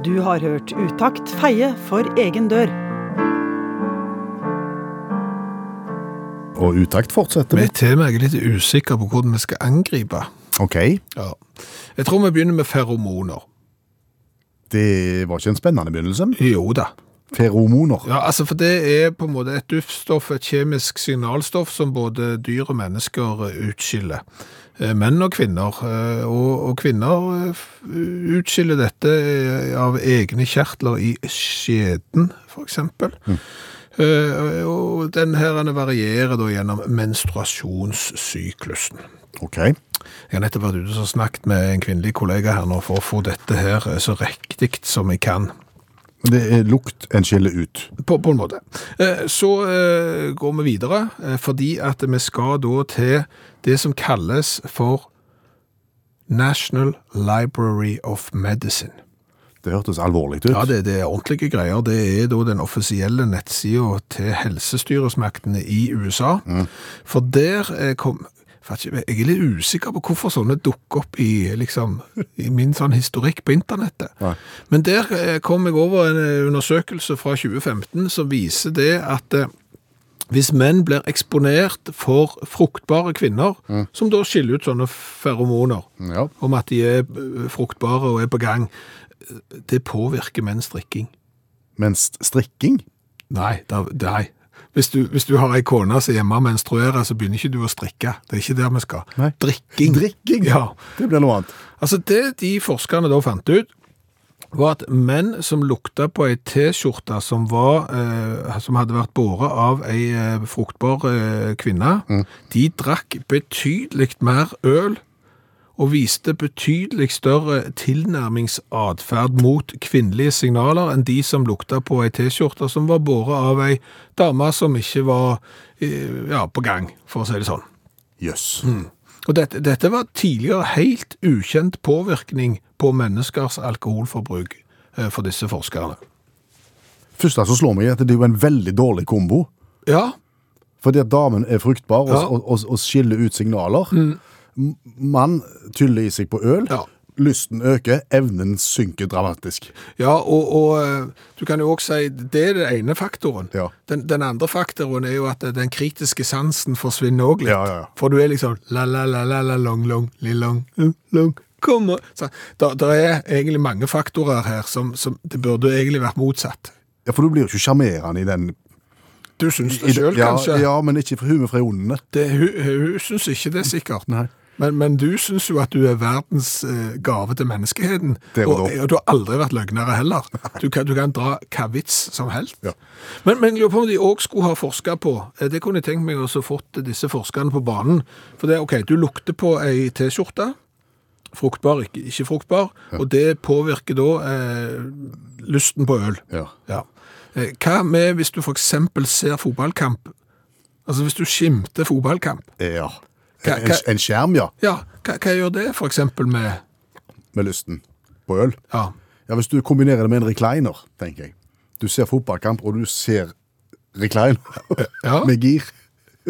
[SPEAKER 9] Du har hørt Utakt feie for egen dør.
[SPEAKER 4] Og utakt fortsetter
[SPEAKER 3] Vi er til meg litt usikre på hvordan vi skal angripe.
[SPEAKER 4] OK.
[SPEAKER 3] Ja. Jeg tror vi begynner med feromoner.
[SPEAKER 4] Det var ikke en spennende begynnelse.
[SPEAKER 3] Jo da.
[SPEAKER 4] Feromoner.
[SPEAKER 3] Ja, altså For det er på en måte et duftstoff, et kjemisk signalstoff, som både dyr og mennesker eh, utskiller. eh, menn og kvinner. eh, Og, og kvinner eh, f- utskiller dette eh, av egne kjertler i skjeden, for eksempel. Eh, Og den her den varierer da gjennom menstruasjonssyklusen.
[SPEAKER 4] OK.
[SPEAKER 3] Jeg har nettopp vært ute og snakket med en kvinnelig kollega her nå for å få dette her eh, så riktig som jeg kan.
[SPEAKER 4] Det er lukt en skiller ut.
[SPEAKER 3] På, på en måte. Eh, Så eh, går vi videre, eh, fordi at vi skal da til det som kalles for National Library of Medicine.
[SPEAKER 4] Det hørtes alvorlig ut.
[SPEAKER 3] Ja, det, det er ordentlige greier. Det er da den offisielle nettsida til helsestyresmaktene i USA. For der eh, kom Vet ikke, Jeg er litt usikker på hvorfor sånne dukker opp i, liksom, i min sånn historikk på internettet.
[SPEAKER 4] Nei.
[SPEAKER 3] Men der eh, kom jeg over en eh, undersøkelse fra 2015 som viser det at eh, hvis menn blir eksponert for fruktbare kvinner, som da skiller ut sånne feromoner,
[SPEAKER 4] Ja.
[SPEAKER 3] om at de er eh, fruktbare og er på gang, det påvirker menns drikking.
[SPEAKER 4] Mens strikking
[SPEAKER 3] Nei, da, nei. Hvis du, hvis du har ei kone som hjemme og menstruerer, så begynner ikke du å strikke. Det er ikke der vi skal.
[SPEAKER 4] Nei.
[SPEAKER 3] Drikking.
[SPEAKER 4] Drikking?
[SPEAKER 3] Ja.
[SPEAKER 4] Det blir noe annet.
[SPEAKER 3] Altså, det de forskerne da fant ut, var at menn som lukta på ei T-skjorte som, var, eh, som hadde vært båret av ei eh, fruktbar eh, kvinne, de drakk betydelig mer øl og viste betydelig større tilnærmingsatferd mot kvinnelige signaler enn de som lukta på ei T-skjorte som var båret av ei dame som ikke var eh, ja, på gang, for å si det sånn.
[SPEAKER 4] Jøss.
[SPEAKER 3] Og dette, dette var tidligere helt ukjent påvirkning på menneskers alkoholforbruk eh, for disse forskerne.
[SPEAKER 4] Første som slår meg, er at det er jo en veldig dårlig kombo.
[SPEAKER 3] Ja,
[SPEAKER 4] Fordi at damen er fruktbar og,
[SPEAKER 3] Ja. Mm.
[SPEAKER 4] og, og, og skiller ut signaler. M- Mann tyller i seg på øl.
[SPEAKER 3] Ja.
[SPEAKER 4] Lysten øker, evnen synker dramatisk.
[SPEAKER 3] ja og, og eh, du kan jo også si det er den ene faktoren.
[SPEAKER 4] Ja.
[SPEAKER 3] Den, den andre faktoren er jo at den kritiske sansen forsvinner òg litt.
[SPEAKER 4] Ja, ja, ja.
[SPEAKER 3] For du er liksom la-la-la-la, long, long, li-long, long, kom og Så da- der er egentlig mange faktorer her som, som Det burde egentlig vært motsatt.
[SPEAKER 4] Ja, For du blir jo ikke sjarmerende i den
[SPEAKER 3] Du syns
[SPEAKER 4] i
[SPEAKER 3] det sjøl,
[SPEAKER 4] ja,
[SPEAKER 3] kanskje?
[SPEAKER 4] Ja, men ikke for huet fra ondene.
[SPEAKER 3] Det, hun hun syns ikke det, sikkert.
[SPEAKER 4] Nei.
[SPEAKER 3] Men, men du syns jo at du er verdens eh, gave til menneskeheten.
[SPEAKER 4] Det var
[SPEAKER 3] og, eh,
[SPEAKER 4] det.
[SPEAKER 3] og du har aldri vært løgnere heller. Du kan, du kan dra hva vits som helst.
[SPEAKER 4] Ja.
[SPEAKER 3] Men, men jeg lurer på om de òg skulle ha forska på eh, Det kunne jeg tenkt meg også fått disse forskerne på banen. For det er OK, du lukter på ei T-skjorte. Fruktbar, ikke, ikke fruktbar. Og det påvirker da eh, lysten på øl.
[SPEAKER 4] Ja.
[SPEAKER 3] Ja. Eh, Hva med hvis du for eksempel ser fotballkamp? Altså hvis du skimter fotballkamp,
[SPEAKER 4] Eh, ja.
[SPEAKER 3] Hva-
[SPEAKER 4] En,
[SPEAKER 3] hva-
[SPEAKER 4] en skjerm, ja,
[SPEAKER 3] ja, hva, hva gjør det for eksempel med
[SPEAKER 4] med lysten på øl.
[SPEAKER 3] ja,
[SPEAKER 4] Ja, Hvis du kombinerer det med en recliner, tenker jeg. Du ser fotballkamp, og du ser recliner
[SPEAKER 3] Ja.
[SPEAKER 4] med gir.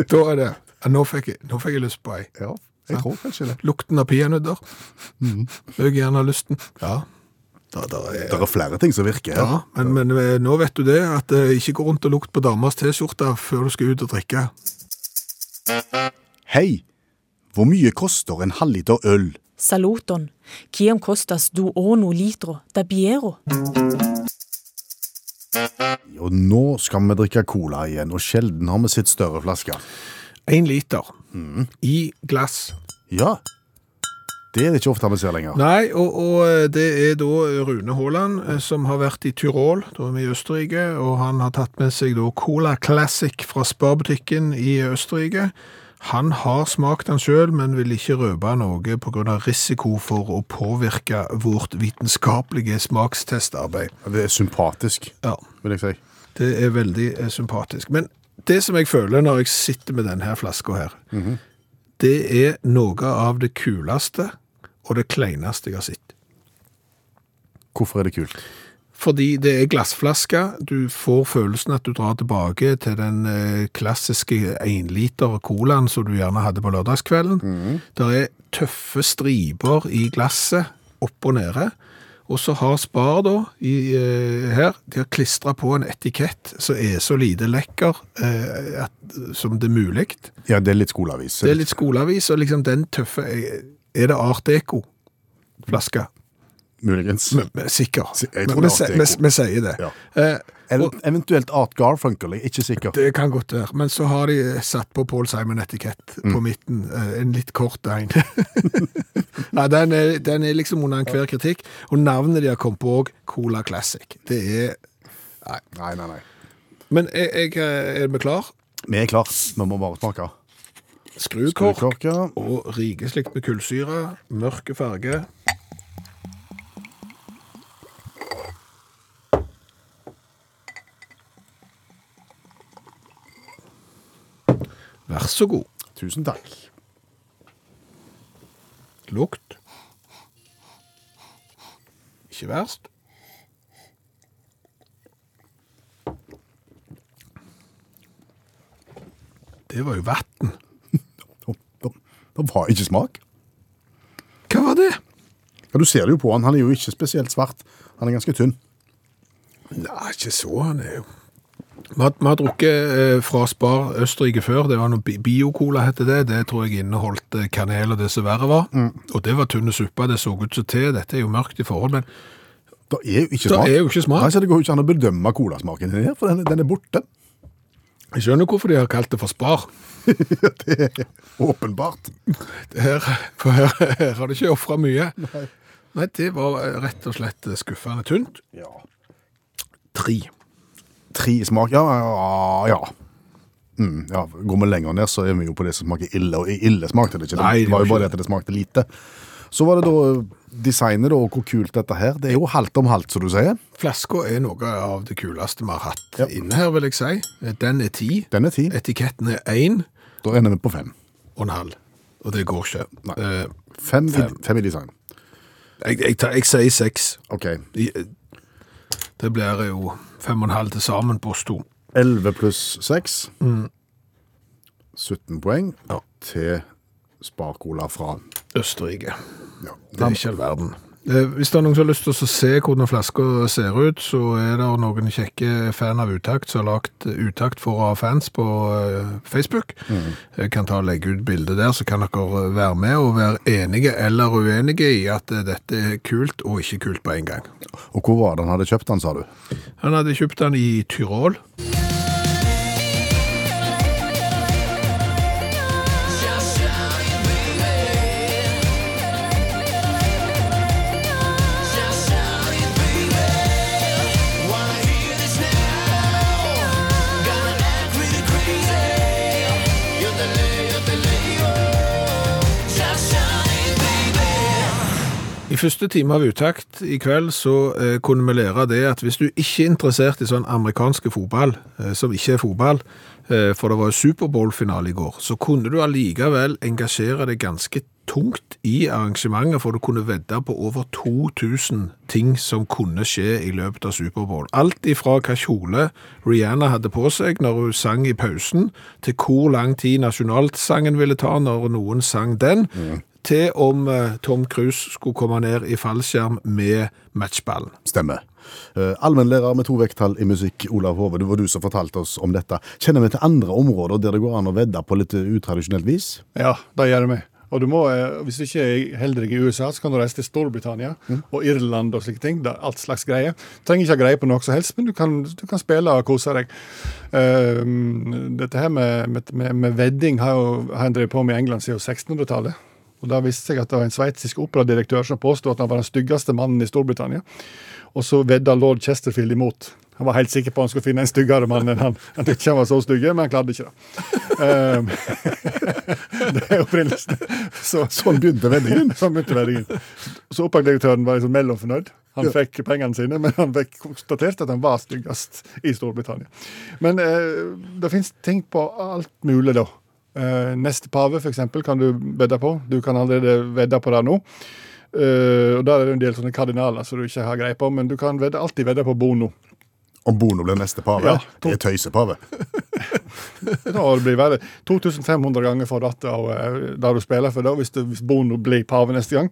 [SPEAKER 3] Da er det ja, nå, fikk jeg, nå fikk jeg lyst på ei.
[SPEAKER 4] Ja, jeg tror kanskje det.
[SPEAKER 3] Lukten av peanøtter. Øker gjerne lysten. Ja. Da, da er,
[SPEAKER 4] Det er flere ting som virker. her.
[SPEAKER 3] ja men, men eh, nå vet du det, at eh, ikke gå rundt og lukt på damers T-skjorte før du skal ut og drikke.
[SPEAKER 4] Hei, hvor mye koster en halvliter øl?
[SPEAKER 10] Saluton. Kiam kostas du ono litro da biero.
[SPEAKER 4] Og nå skal vi drikke cola igjen, og sjelden har vi sett større flasker.
[SPEAKER 3] Én liter i glass.
[SPEAKER 4] Ja, det er det ikke ofte vi ser lenger.
[SPEAKER 3] Nei, og, og det er da Rune Haaland eh, som har vært i Tyrol, da er vi i Østerrike, og han har tatt med seg da Cola Classic fra Spar-butikken i Østerrike. Han har smakt den selv, men vil ikke røpe noe på grunn av risiko for å påvirke vårt vitenskapelige smakstestarbeid.
[SPEAKER 4] Det er sympatisk,
[SPEAKER 3] Ja,
[SPEAKER 4] vil jeg si.
[SPEAKER 3] det er veldig eh, sympatisk. Men det som jeg føler når jeg sitter med denne flaska her, det er noe av det kuleste og det kleineste jeg har sett.
[SPEAKER 4] Hvorfor er det kult?
[SPEAKER 3] Fordi det er glassflasker. Du får følelsen at du drar tilbake til den eh, klassiske 1-liter colaen som du gjerne hadde på lørdagskvelden. Der er tøffe striper i glasset opp og nede. Og så har Spar da, i, eh, her, de har klistra på en etikett som er så lite lekker eh, at, som det er mulig.
[SPEAKER 4] Ja, det er litt skoleavis.
[SPEAKER 3] Det er eh, litt skoleavis, og liksom den tøffe Er det Art Deco-flaske?
[SPEAKER 4] Muligens.
[SPEAKER 3] Men Sikker.
[SPEAKER 4] Si- jeg
[SPEAKER 3] Men
[SPEAKER 4] tror
[SPEAKER 3] vi
[SPEAKER 4] det er
[SPEAKER 3] se-
[SPEAKER 4] Art
[SPEAKER 3] vi
[SPEAKER 4] Deco.
[SPEAKER 3] vi sier det.
[SPEAKER 4] Ja.
[SPEAKER 3] Eh,
[SPEAKER 4] Eller eventuelt Art Garfunkel, jeg er ikke sikker.
[SPEAKER 3] Det kan godt være. Men så har de eh, satt på Paul Simon-etikett
[SPEAKER 4] Mm.
[SPEAKER 3] på midten. eh, En litt kort en. Nei, den er, den er liksom under enhver kritikk. Og navnet de har kommet på òg, Cola Classic. Det er
[SPEAKER 4] Nei, nei, nei. nei.
[SPEAKER 3] Men jeg, jeg eh, er vi klar?
[SPEAKER 4] Vi er klar. Vi må bare smake.
[SPEAKER 3] Skrukork,
[SPEAKER 4] Skrukork, ja.
[SPEAKER 3] og rikeslikt med kullsyre. Mørke farge. Vær så god.
[SPEAKER 4] Tusen takk.
[SPEAKER 3] Lukt. Ikke verst. Det var jo vann.
[SPEAKER 4] Det var ikke smak.
[SPEAKER 3] Hva var det?
[SPEAKER 4] Ja, Du ser det jo på han, han er jo ikke spesielt svart. Han er ganske tynn.
[SPEAKER 3] Nei, ikke så. Han er jo Vi har, vi har drukket eh, fra Spar Østerrike før. Det var noe bi- Biocola, heter det. Det tror jeg inneholdt eh, kanel og det som verre var. Og det var tynne suppe. Det så ut som te. Dette er jo mørkt i forhold, men
[SPEAKER 4] Det er jo ikke
[SPEAKER 3] Det
[SPEAKER 4] smak.
[SPEAKER 3] er jo ikke smak.
[SPEAKER 4] Nei, så Det går jo ikke an å bedømme colasmaken her, for den, den er borte.
[SPEAKER 3] jeg skjønner hvorfor de har kalt det for Spar.
[SPEAKER 4] Åpenbart.
[SPEAKER 3] Her, for her, her har de ikke ofra mye. Nei. det var eh, rett og slett eh, skuffende tynt.
[SPEAKER 4] Ja.
[SPEAKER 3] Tre.
[SPEAKER 4] Tre smak, ja. ja, ja. Mm, ja. Går vi lenger ned, så er vi jo på det som smaker ille, og ille smakte det ikke.
[SPEAKER 3] Nei,
[SPEAKER 4] det,
[SPEAKER 3] det
[SPEAKER 4] var
[SPEAKER 3] var
[SPEAKER 4] jo bare
[SPEAKER 3] ikke
[SPEAKER 4] det at det smakte lite. Så var det da designet da, og hvor kult dette her. Det er jo halvt om halvt, som du sier.
[SPEAKER 3] Flaska er noe av det kuleste vi har hatt inne her, vil jeg si. Eh, Den er ti.
[SPEAKER 4] Den er ti.
[SPEAKER 3] Etiketten er én
[SPEAKER 4] Da ender vi på fem.
[SPEAKER 3] og en halv. Og det går ikke. Eh,
[SPEAKER 4] Fem, I, fem i design.
[SPEAKER 3] Jeg, jeg, tar, jeg sier seks.
[SPEAKER 4] Ok.
[SPEAKER 3] I- Det blir jo fem og en halv til sammen på oss to.
[SPEAKER 4] 11 pluss 6. 17 poeng til Spar-Cola fra
[SPEAKER 3] Østerrike.
[SPEAKER 4] ja.
[SPEAKER 3] Det er ikke all verden. Eh, Hvis det er noen som har lyst til å se hvordan flaska ser ut, så er det noen kjekke fan av Utakt som har lagt Utakt for å ha fans på eh, Facebook. Jeg kan ta og legge ut bilde der, så kan dere eh, være med og være enige eller uenige i at eh, dette er kult og ikke kult på en gang.
[SPEAKER 4] Og hvor var det han hadde kjøpt den, sa du?
[SPEAKER 3] Han hadde kjøpt den i Tyrol. I første time av Utakt i kveld så eh, kunne vi lære det at hvis du ikke er interessert i sånn amerikanske fotball, eh, som ikke er fotball, eh, for det var jo Superbowl-finale i går, så kunne du allikevel engasjere deg ganske tungt i arrangementet, for du kunne vedde på over 2000 ting som kunne skje i løpet av Superbowl. Alt ifra hva kjole Rihanna hadde på seg når hun sang i pausen, til hvor lang tid nasjonalsangen ville ta når noen sang den, til om eh, Tom Cruise skulle komme ned i fallskjerm med matchballen.
[SPEAKER 4] Stemmer. Eh, Allmennlærer med to vekttall i musikk, Olav Hove, det var du som fortalte oss om dette. Kjenner vi til andre områder der det går an å vedde på litt eh, utradisjonelt vis?
[SPEAKER 6] Ja, det gjør vi. Og du må, eh, Hvis du ikke er heldig i USA, så kan du reise til Storbritannia og Irland og slike ting. Det er alt slags greier. Du trenger ikke ha greie på noe som helst, men du kan, du kan spille og kose deg. Ehm, dette her med, med, med, med vedding har jo har en drevet på med i England siden 1600-tallet. Og Da viste seg at det var en sveitsisk operadirektør som påstod at han var den styggeste mannen i Storbritannia. Og så vedda lord Chesterfield imot. Han var helt sikker på at han skulle finne en styggere mann enn han. Han tykte ikke han var så stygge, men han klarte ikke det. Ehm, det er opprinnelsen. Så,
[SPEAKER 4] Sånn begynte vendingen.
[SPEAKER 6] så begynte veddingen. Så oppdragsdirektøren var liksom mellomfornøyd. Han
[SPEAKER 4] Ja.
[SPEAKER 6] fikk pengene sine, men han fikk konstatert at han var styggest i Storbritannia. Men eh, det fins ting på alt mulig, da. Eh, neste pave, for eksempel, kan du vedde på. Du kan allerede vedde på det nå. Eh, og Der er det en del sånne kardinaler som du ikke har greie på, men du kan vedde, alltid vedde på Bono.
[SPEAKER 4] Om Bono blir neste pave?
[SPEAKER 6] Ja.
[SPEAKER 4] Det er tøysepave.
[SPEAKER 6] Da blir det verre. 2500 ganger for rattet av eh, der du spiller for da, hvis, du, hvis Bono blir pave neste gang.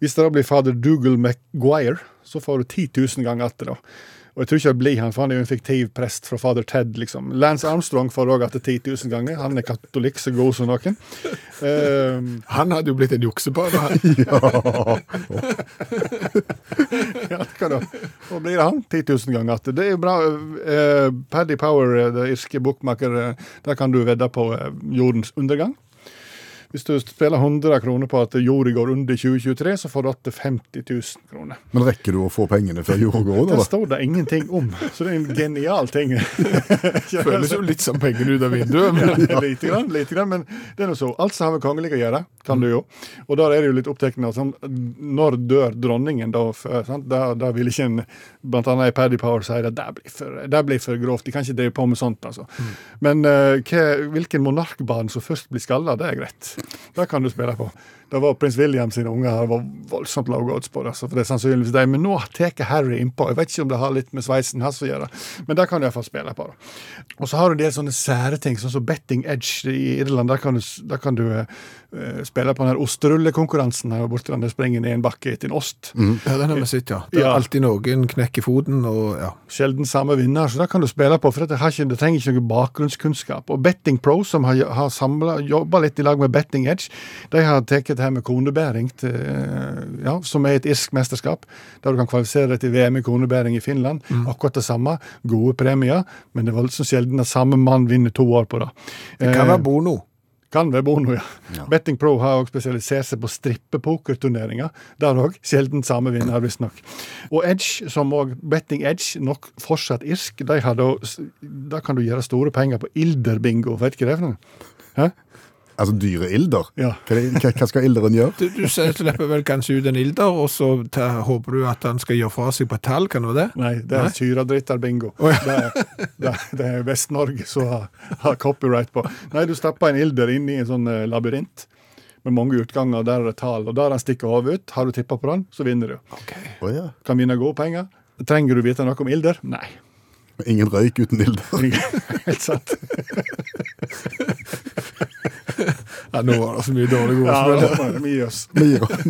[SPEAKER 6] Hvis det da blir fader Dougal Maguire, så får du 10 000 ganger atter da. Og jeg tror ikke det blir han, for han er jo en fiktiv prest fra fader Ted, liksom. Lance Armstrong får òg etter 10 000 ganger. Han er katolikk så god som noen. Ehm,
[SPEAKER 3] Han hadde jo blitt en juksebane. han.
[SPEAKER 6] ja, hva da? Nå blir det han 10 000 ganger igjen. Det er jo bra. eh, Paddy Power, eh, det irske bokmaker, eh, der kan du vedde på eh, jordens undergang. Hvis du spiller 100 kroner på at jorda går under 2023, så får du igjen 50 000 kroner.
[SPEAKER 4] Men rekker du å få pengene før jorda går
[SPEAKER 6] Det
[SPEAKER 4] under? da?
[SPEAKER 6] står det ingenting om, så det er en genial ting.
[SPEAKER 3] Føles jo litt som pengene ut av vinduet. Men
[SPEAKER 6] lite grann, lite grann, men det er noe så. Alt som har med kongelig å gjøre, kan du jo. Og der er det jo litt opptekna sånn, Når dør dronningen, da? For, sant? Der, der vil ikke en Blant annet i Paddy Power sier at det blir, for, det blir for grovt, de kan ikke drive på med sånt, altså.
[SPEAKER 3] Mm.
[SPEAKER 6] Men eh, hva, hvilken monarkbarn som først blir skalla, det er greit. Det kan du spille på. Det var prins William sine unger her var voldsomt lave odds på det. altså, for det er sannsynligvis de, Men nå tar Harry innpå. Jeg vet ikke om det har litt med sveisen hans å gjøre, men det kan du iallfall spille på. da. Og så har du en del sånne sære ting, sånn som Betting Edge i Irland. Der kan du, der kan du eh, eh, spille på den her osterullekonkurransen her borte. der Du springer ned en bakke etter en ost.
[SPEAKER 3] Ja, den har vi sett, ja. Det er
[SPEAKER 6] Ja.
[SPEAKER 3] alltid noen knekk i foten og ja.
[SPEAKER 6] Sjelden samme vinner, så det kan du spille på. For det, har ikke, det trenger ikke noe bakgrunnskunnskap. Og Betting Pro, som har, har samlet- jobba litt i lag med Betting Edge, de har tatt det her med konebæring, til, eh, ja, som er et irsk mesterskap, der du kan kvalifisere deg til VM i konebæring i Finland.
[SPEAKER 3] Mm.
[SPEAKER 6] Akkurat det samme. Gode premier, men det er voldsomt sjelden at samme mann vinner to år på det.
[SPEAKER 3] Det kan være Bono.
[SPEAKER 6] Kan være Bono, ja. Betting Pro har også spesialisert seg på strippepokerturneringer. Der òg. Sjelden samme vinner, visstnok. Og Edge, som òg Betting Edge, nok fortsatt irsk, de har da Der kan du gjøre store penger på ilderbingo. Vet du hva det er for noe?
[SPEAKER 4] Altså dyre ilder?
[SPEAKER 6] Ja.
[SPEAKER 4] Hva, hva, hva skal ilderen gjøre?
[SPEAKER 3] Du, du slipper vel kanskje ut en ilder, og så ta, håper du at han skal gjøre fra seg på et tall, kan det være det?
[SPEAKER 6] Nei, det er syradritterbingo. Det er, det er- det er Vest-Norge som har, har copyright på. Nei, du stapper en ilder inn i en sånn eh, labyrint. Med mange utganger, der er det tall. Og der han stikker hodet ut, har du tippa på den, så vinner du.
[SPEAKER 4] Å ja.
[SPEAKER 6] Kan vinne gode penger. Trenger du vite noe om ilder? Nei.
[SPEAKER 4] Ingen røyk uten ilder.
[SPEAKER 6] Helt sant.
[SPEAKER 3] Ja, nå var det så mye dårlige
[SPEAKER 6] Ja,
[SPEAKER 3] ordspill.
[SPEAKER 6] det var mye jøss.
[SPEAKER 4] Vi gir oss.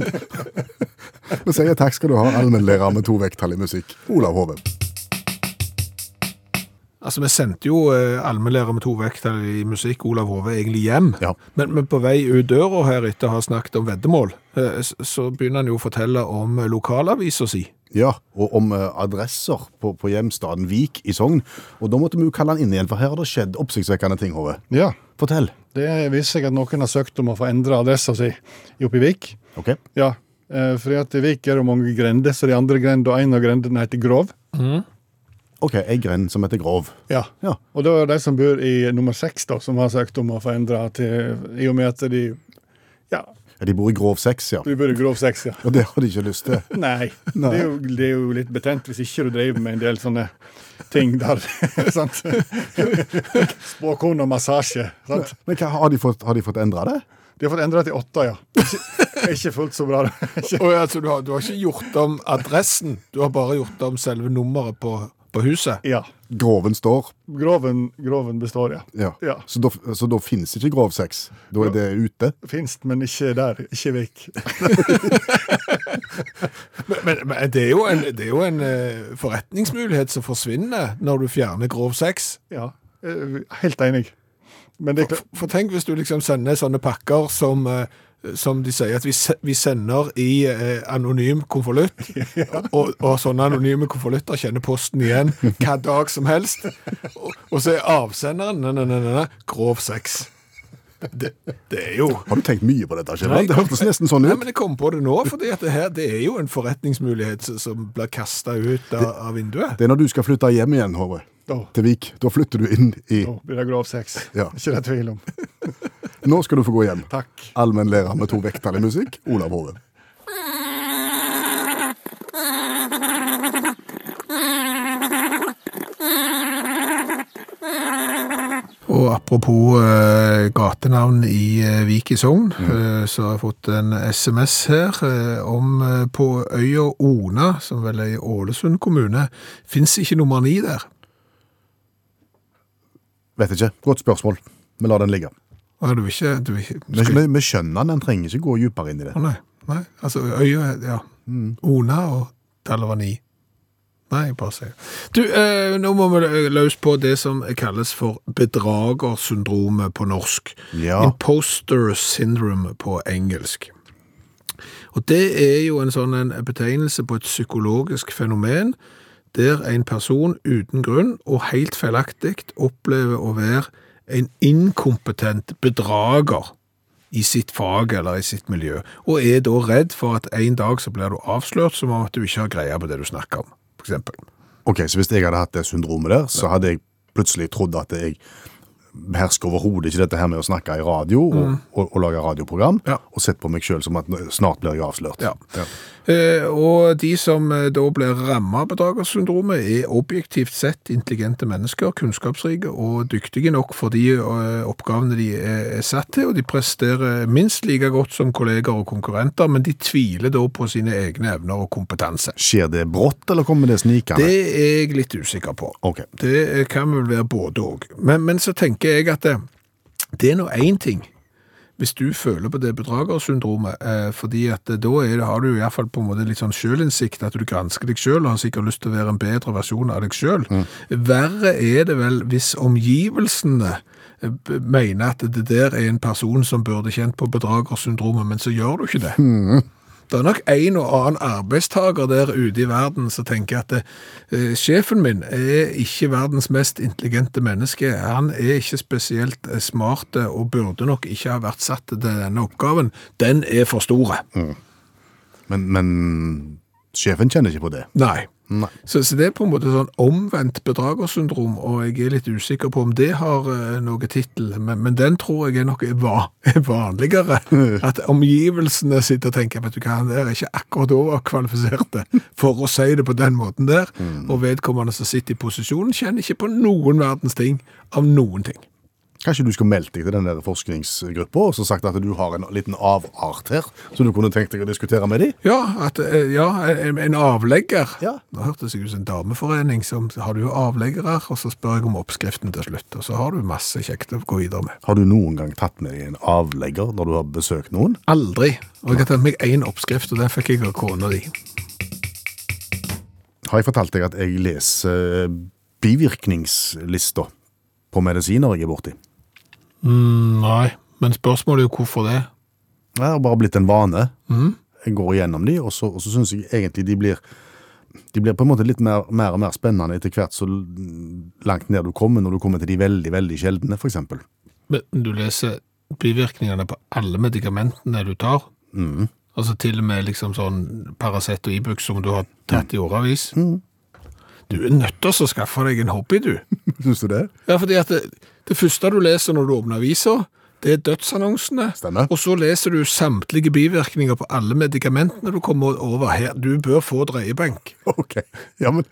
[SPEAKER 4] Vi sier takk skal du ha, allmennlærer med to vekttall i musikk, Olav Hove.
[SPEAKER 3] Altså, Vi sendte jo eh, allmennlærer med to vekttall i musikk, Olav Hove, egentlig hjem.
[SPEAKER 4] Ja.
[SPEAKER 3] Men, men på vei ut døra her etter å ha snakket om veddemål, eh, s- så begynner han jo å fortelle om eh, lokalavisa si.
[SPEAKER 4] Ja, og om eh, adresser på, på hjemstaden Vik i Sogn. Og da måtte vi jo kalle han inn igjen, for her har det skjedd oppsiktsvekkende ting, Hove.
[SPEAKER 6] Ja,
[SPEAKER 4] Fortell.
[SPEAKER 6] det viser seg at noen har søkt om å få endre adressa si oppe i Vik.
[SPEAKER 4] Ok.
[SPEAKER 6] Ja, eh, fordi at i Vik er det mange grender, så de andre grendene og en av grendene heter Grov.
[SPEAKER 4] Ok, ei grend som heter Grov.
[SPEAKER 6] Ja.
[SPEAKER 4] Ja.
[SPEAKER 6] Og det er de som bor i nummer seks, da, som har søkt om å få endra til I og med at de Ja,
[SPEAKER 4] Ja, De bor i Grov 6, ja.
[SPEAKER 6] de bor i Grov seks, ja.
[SPEAKER 4] Og det har de ikke lyst til.
[SPEAKER 6] Nei.
[SPEAKER 4] Nei.
[SPEAKER 6] Det, er jo, det er jo litt betent hvis ikke du driver med en del sånne ting der. sant? Spåkone og massasje. sant?
[SPEAKER 4] Men hva, har de fått, har de fått endra det?
[SPEAKER 6] De har fått endra til åtte, ja. Ikke, ikke fullt så bra. da. Ikke-
[SPEAKER 3] Og altså, du har, du har ikke gjort om adressen, du har bare gjort om selve nummeret på, på huset.
[SPEAKER 6] Ja.
[SPEAKER 4] Groven står.
[SPEAKER 6] Groven, groven består, ja.
[SPEAKER 4] Ja.
[SPEAKER 6] Ja.
[SPEAKER 4] Så da, så da finnes ikke Grov 6. Da er det ute.
[SPEAKER 6] Finst, men ikke der. Ikke Vik.
[SPEAKER 3] Men, men, men det er jo en, det er jo en eh, forretningsmulighet som forsvinner når du fjerner grov sex.
[SPEAKER 6] Ja. eh, Helt enig. Men det er
[SPEAKER 3] For,
[SPEAKER 6] klart
[SPEAKER 3] for tenk hvis du liksom sender sånne pakker som eh, som de sier at vi, se- vi sender i eh, anonym konvolutt, og, og sånne anonyme konvolutter kjenner posten igjen hva dag som helst. Og, og så er avsenderen nei, nei, nei, nei, nei, grov sex. Det, det er jo
[SPEAKER 4] Har du tenkt mye på dette,
[SPEAKER 3] Nei,
[SPEAKER 4] Kjelland? Det hørtes nesten sånn
[SPEAKER 3] Nei,
[SPEAKER 4] ut.
[SPEAKER 3] men jeg kom på det nå, fordi at det her det er jo en forretningsmulighet som- som blir kasta ut av, av vinduet.
[SPEAKER 4] Det er når du skal flytte hjem igjen, Håre.
[SPEAKER 6] Da.
[SPEAKER 4] Til Vik. Da flytter du inn i
[SPEAKER 6] Nå blir det grov sex.
[SPEAKER 4] Ja.
[SPEAKER 6] Ikke det tvil om.
[SPEAKER 4] Nå skal du få gå hjem.
[SPEAKER 6] Takk.
[SPEAKER 4] Allmennlærer med to vekttall i musikk, Olav Hove.
[SPEAKER 3] Og apropos eh, gatenavn i eh, Vik i Sogn, eh, så har jeg fått en SMS her eh, om eh, på øya Ona, som vel er i Ålesund kommune, fins ikke nummer ni der.
[SPEAKER 4] Vet ikke. Godt spørsmål. Vi lar den ligge.
[SPEAKER 3] Og er du ikke, du, er ikke- du
[SPEAKER 4] Vi,
[SPEAKER 3] skal,
[SPEAKER 4] vi, vi skjønner den, den trenger ikke gå dypere inn i det.
[SPEAKER 3] Å, nei, nei, altså øya, ja. Ona og tallet var ni. Nei, jeg bare sier. Du, eh, nå må vi løs på det som kalles for bedragersyndromet på norsk.
[SPEAKER 4] Ja.
[SPEAKER 3] Imposter syndrome på engelsk. Og det er jo en sånn en betegnelse på et psykologisk fenomen, der en person uten grunn og helt feilaktig opplever å være en inkompetent bedrager i sitt fag eller i sitt miljø, og er da redd for at en dag så blir du avslørt som om at du ikke har greie på det du snakker om, for eksempel.
[SPEAKER 4] Ok, så hvis jeg hadde hatt det syndromet der, så hadde jeg plutselig trodd at jeg behersker overhodet ikke dette her med å snakke i radio og, og, og lage radioprogram,
[SPEAKER 3] Mm. Ja.
[SPEAKER 4] og sett på meg sjøl som at nå- snart blir jeg avslørt.
[SPEAKER 3] Ja. Eh, og de som eh, da blir rammet av bedragersyndromet, er objektivt sett intelligente mennesker, kunnskapsrike og dyktige nok for de eh, oppgavene de er, er satt til, og de presterer minst like godt som kolleger og konkurrenter, men de tviler da på sine egne evner og kompetanse.
[SPEAKER 4] Skjer det brått, eller kommer det
[SPEAKER 3] Det
[SPEAKER 4] snikende?
[SPEAKER 3] er jeg litt usikker på.
[SPEAKER 4] Ok.
[SPEAKER 3] Det eh, kan vel være både og. Men, men så tenker jeg at det, det er nå én ting hvis du føler på det bedragersyndromet, eh, fordi at da er, det- har du i hvert fall på en måte litt sånn sjølinnsikt, at du gransker deg sjøl og har sikkert lyst til å være en bedre versjon av deg sjøl. Verre er det vel hvis omgivelsene eh, b- mener at det der er en person som burde kjent på bedragersyndromet, men så gjør du ikke det. Det er nok en og annen arbeidstaker der ute i verden som tenker at eh, sjefen min er ikke verdens mest intelligente menneske. Han er ikke spesielt eh, smart eh, og burde nok ikke ha vært satt til denne oppgaven. Den er for store.
[SPEAKER 4] Men, men sjefen kjenner ikke på det.
[SPEAKER 3] Nei.
[SPEAKER 4] Nei.
[SPEAKER 3] Så, så det er på en måte sånn omvendt bedragersyndrom, og jeg er litt usikker på om det har eh, noe tittel, men, men den tror jeg er nok er, va er vanligere. At omgivelsene sitter og tenker vet du hva, han der er ikke akkurat overkvalifiserte for å si det på den måten der, og vedkommende som sitter i posisjonen kjenner ikke på noen verdens ting av noen ting.
[SPEAKER 4] Kanskje du skulle meldt deg til den der forskningsgruppa og så sagt at du har en liten avart her, som du kunne tenkt deg å diskutere med dem?
[SPEAKER 3] Ja, at, eh, ja en, en avlegger.
[SPEAKER 4] Ja.
[SPEAKER 3] Nå hørtes jeg ut som en dameforening som har du jo avleggere, og så spør jeg om oppskriften til slutt, og så har du masse kjekt å gå videre med.
[SPEAKER 4] Har du noen gang tatt med deg en avlegger når du har besøkt noen?
[SPEAKER 3] Aldri. Og jeg har tatt meg én oppskrift, og den fikk jeg av kona di.
[SPEAKER 4] Har jeg fortalt deg at jeg leser bivirkningslista på medisiner jeg er borti?
[SPEAKER 3] Mm, Nei, men spørsmålet er jo hvorfor det.
[SPEAKER 4] Det har bare blitt en vane. Jeg går igjennom de, og så, og så syns jeg egentlig de blir de blir på en måte litt mer, mer og mer spennende etter hvert så l- langt ned du kommer, når du kommer til de veldig veldig sjeldne, f.eks.
[SPEAKER 3] Men du leser bivirkningene på alle medikamentene du tar. Altså til og med liksom sånn Paracet og Ibux som du har tatt i årevis. Du er nødt til å skaffe deg en hobby, du.
[SPEAKER 4] Syns du det?
[SPEAKER 3] Ja, fordi at det, det første du leser når du åpner aviser, det er dødsannonsene.
[SPEAKER 4] Stemmer.
[SPEAKER 3] Og så leser du samtlige bivirkninger på alle medikamentene du kommer over her. Du bør få dreiebenk.
[SPEAKER 4] Ok. Ja men,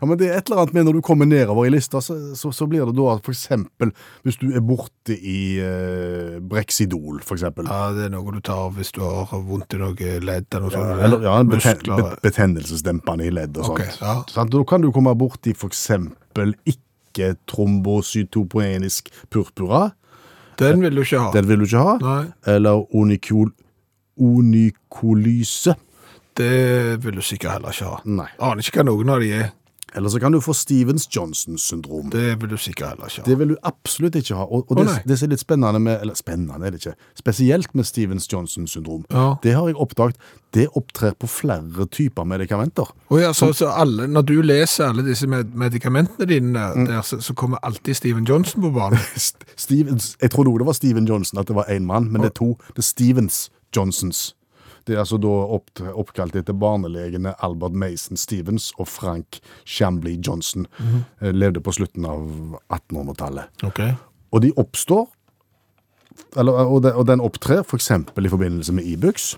[SPEAKER 4] ja, men det er et eller annet med når du kommer nedover i lista, så, så, så blir det da at f.eks. hvis du er borte i eh, Brexidol, f.eks. Ja,
[SPEAKER 3] Ja, det er noe du tar hvis du har vondt i noe ledd eller noe sånt.
[SPEAKER 4] eller ja, en beten,
[SPEAKER 3] Muskler.
[SPEAKER 4] bet- betennelsesdempende i ledd og
[SPEAKER 3] Ok,
[SPEAKER 4] sånt.
[SPEAKER 3] ja.
[SPEAKER 4] Sant? Da kan du komme borti f.eks. ikke trombocytopoenisk purpura.
[SPEAKER 3] Den vil du ikke ha.
[SPEAKER 4] Den vil du ikke ha.
[SPEAKER 3] Nei.
[SPEAKER 4] Eller onikol, onikolyse.
[SPEAKER 3] Det vil du sikkert heller ikke ha.
[SPEAKER 4] Nei.
[SPEAKER 3] Aner ikke hva noen av de er.
[SPEAKER 4] Eller så kan du få Stevens-Johnson-syndrom.
[SPEAKER 3] Det vil du sikkert heller ikke ha.
[SPEAKER 4] Det vil du absolutt ikke ha. Og, og
[SPEAKER 3] Å,
[SPEAKER 4] det,
[SPEAKER 3] nei.
[SPEAKER 4] det som er litt spennende med Eller spennende er det ikke. Spesielt med Stevens-Johnson-syndrom.
[SPEAKER 3] Ja.
[SPEAKER 4] Det har jeg oppdaget. Det opptrer på flere typer medikamenter.
[SPEAKER 3] Å ja, så, så alle, når du leser alle disse med medikamentene dine,
[SPEAKER 4] Mm.
[SPEAKER 3] der, så, så kommer alltid Steven Johnson på banen.
[SPEAKER 4] St- Stevens, jeg trodde også det var Steven Johnson, at det var én mann, men det er to. Det er Stevens Johnsons. Det er altså da opp, oppkalt etter barnelegene Albert Mason Stevens og Frank Shambly Johnson.
[SPEAKER 3] Mhm.
[SPEAKER 4] Eh, Levde på slutten av 1800-tallet.
[SPEAKER 3] Ok.
[SPEAKER 4] Og de oppstår, eller, og, de, og den opptrer f.eks. i forbindelse med Ibux.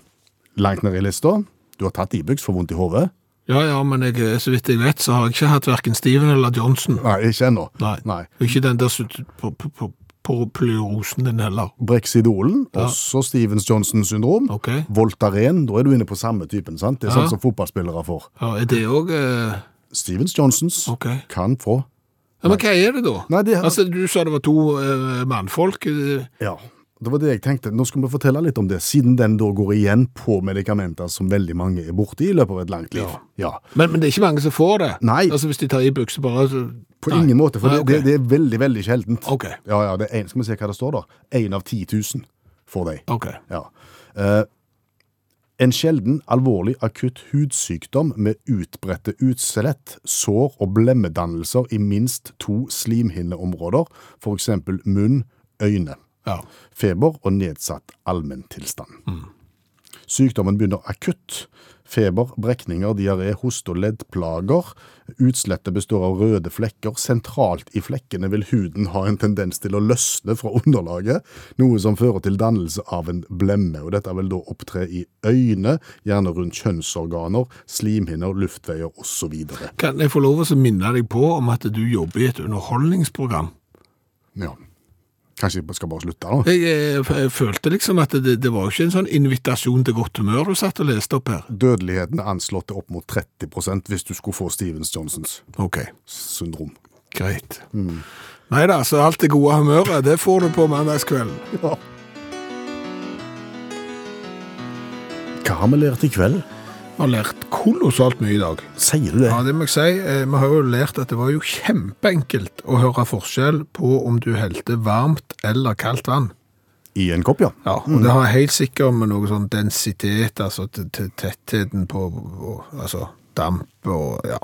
[SPEAKER 4] Langt ned i lista. Du har tatt Ibux for vondt i hodet.
[SPEAKER 3] Ja, ja, men jeg, eh, så vidt jeg vet, så har jeg ikke hatt hverken Steven eller Johnson.
[SPEAKER 4] Nei, ikke ennå.
[SPEAKER 3] Nei.
[SPEAKER 4] Nei.
[SPEAKER 3] Og Ikke den der sut- på, på, på, på pleurosen din heller.
[SPEAKER 4] Brexidolen, også Stevens Johnson-syndrom.
[SPEAKER 3] Ok.
[SPEAKER 4] Voltaren, da er du inne på samme typen. sant? Det er sånn som fotballspillere får.
[SPEAKER 3] Ja, er det òg eh...
[SPEAKER 4] Stevens Johnsons
[SPEAKER 3] Ok.
[SPEAKER 4] kan få
[SPEAKER 3] ja, Men hva er det da?
[SPEAKER 4] Nei, det-
[SPEAKER 3] Altså, Du sa det var to eh, mannfolk. eh,
[SPEAKER 4] Ja. Det var det jeg tenkte. Nå skal vi fortelle litt om det, siden den da går igjen på medikamenter som veldig mange er borti i løpet av et langt liv. Ja.
[SPEAKER 3] Men, men det er ikke mange som får det.
[SPEAKER 4] Nei.
[SPEAKER 3] Altså Hvis de tar i bukse bare så...
[SPEAKER 4] På
[SPEAKER 3] Nei.
[SPEAKER 4] ingen måte, for
[SPEAKER 3] Nei,
[SPEAKER 4] det,
[SPEAKER 3] ok.
[SPEAKER 4] det, det er veldig, veldig sjeldent.
[SPEAKER 3] Ok.
[SPEAKER 4] Ja, ja, det er en, skal vi se hva det står der? En av 10 000 får de.
[SPEAKER 3] Ok.
[SPEAKER 4] Ja. Eh, en sjelden, alvorlig, akutt hudsykdom med utbredte utslett, sår og blemmedannelser i minst to slimhinneområder, for eksempel munn, øyne,
[SPEAKER 3] Ja.
[SPEAKER 4] feber og nedsatt allmenntilstand. Sykdommen begynner akutt. Feber, brekninger, diaré, hoste og leddplager. Utslettet består av røde flekker. Sentralt i flekkene vil huden ha en tendens til å løsne fra underlaget, noe som fører til dannelse av en blemme. og Dette vil da opptre i øyne, gjerne rundt kjønnsorganer, slimhinner, luftveier osv.
[SPEAKER 3] Kan jeg få lov å minne deg på om at du jobber i et underholdningsprogram?
[SPEAKER 4] Ja. Kanskje jeg skal bare slutte nå?
[SPEAKER 3] Jeg, eh, f- jeg følte liksom at det, det var jo ikke en sånn invitasjon til godt humør du satt og leste opp her.
[SPEAKER 4] Dødeligheten er anslått til opp mot 30 hvis du skulle få Stevens-Johnsons
[SPEAKER 3] Ok,
[SPEAKER 4] syndrom.
[SPEAKER 3] greit. Nei da, så alt det gode humøret, det får du på mandagskvelden.
[SPEAKER 4] Ja. Hva har vi lært i kveld?
[SPEAKER 3] Vi har lært kolossalt mye i dag.
[SPEAKER 4] Sier du det?
[SPEAKER 3] Ja, det må jeg si. Eh, Vi har jo lært at det var jo kjempeenkelt å høre forskjell på om du helte varmt eller kaldt vann.
[SPEAKER 4] I en kopp, ja.
[SPEAKER 3] Ja, og det har helt sikkert med noe sånn densitet, altså t- t- tettheten på og, altså, damp og ja,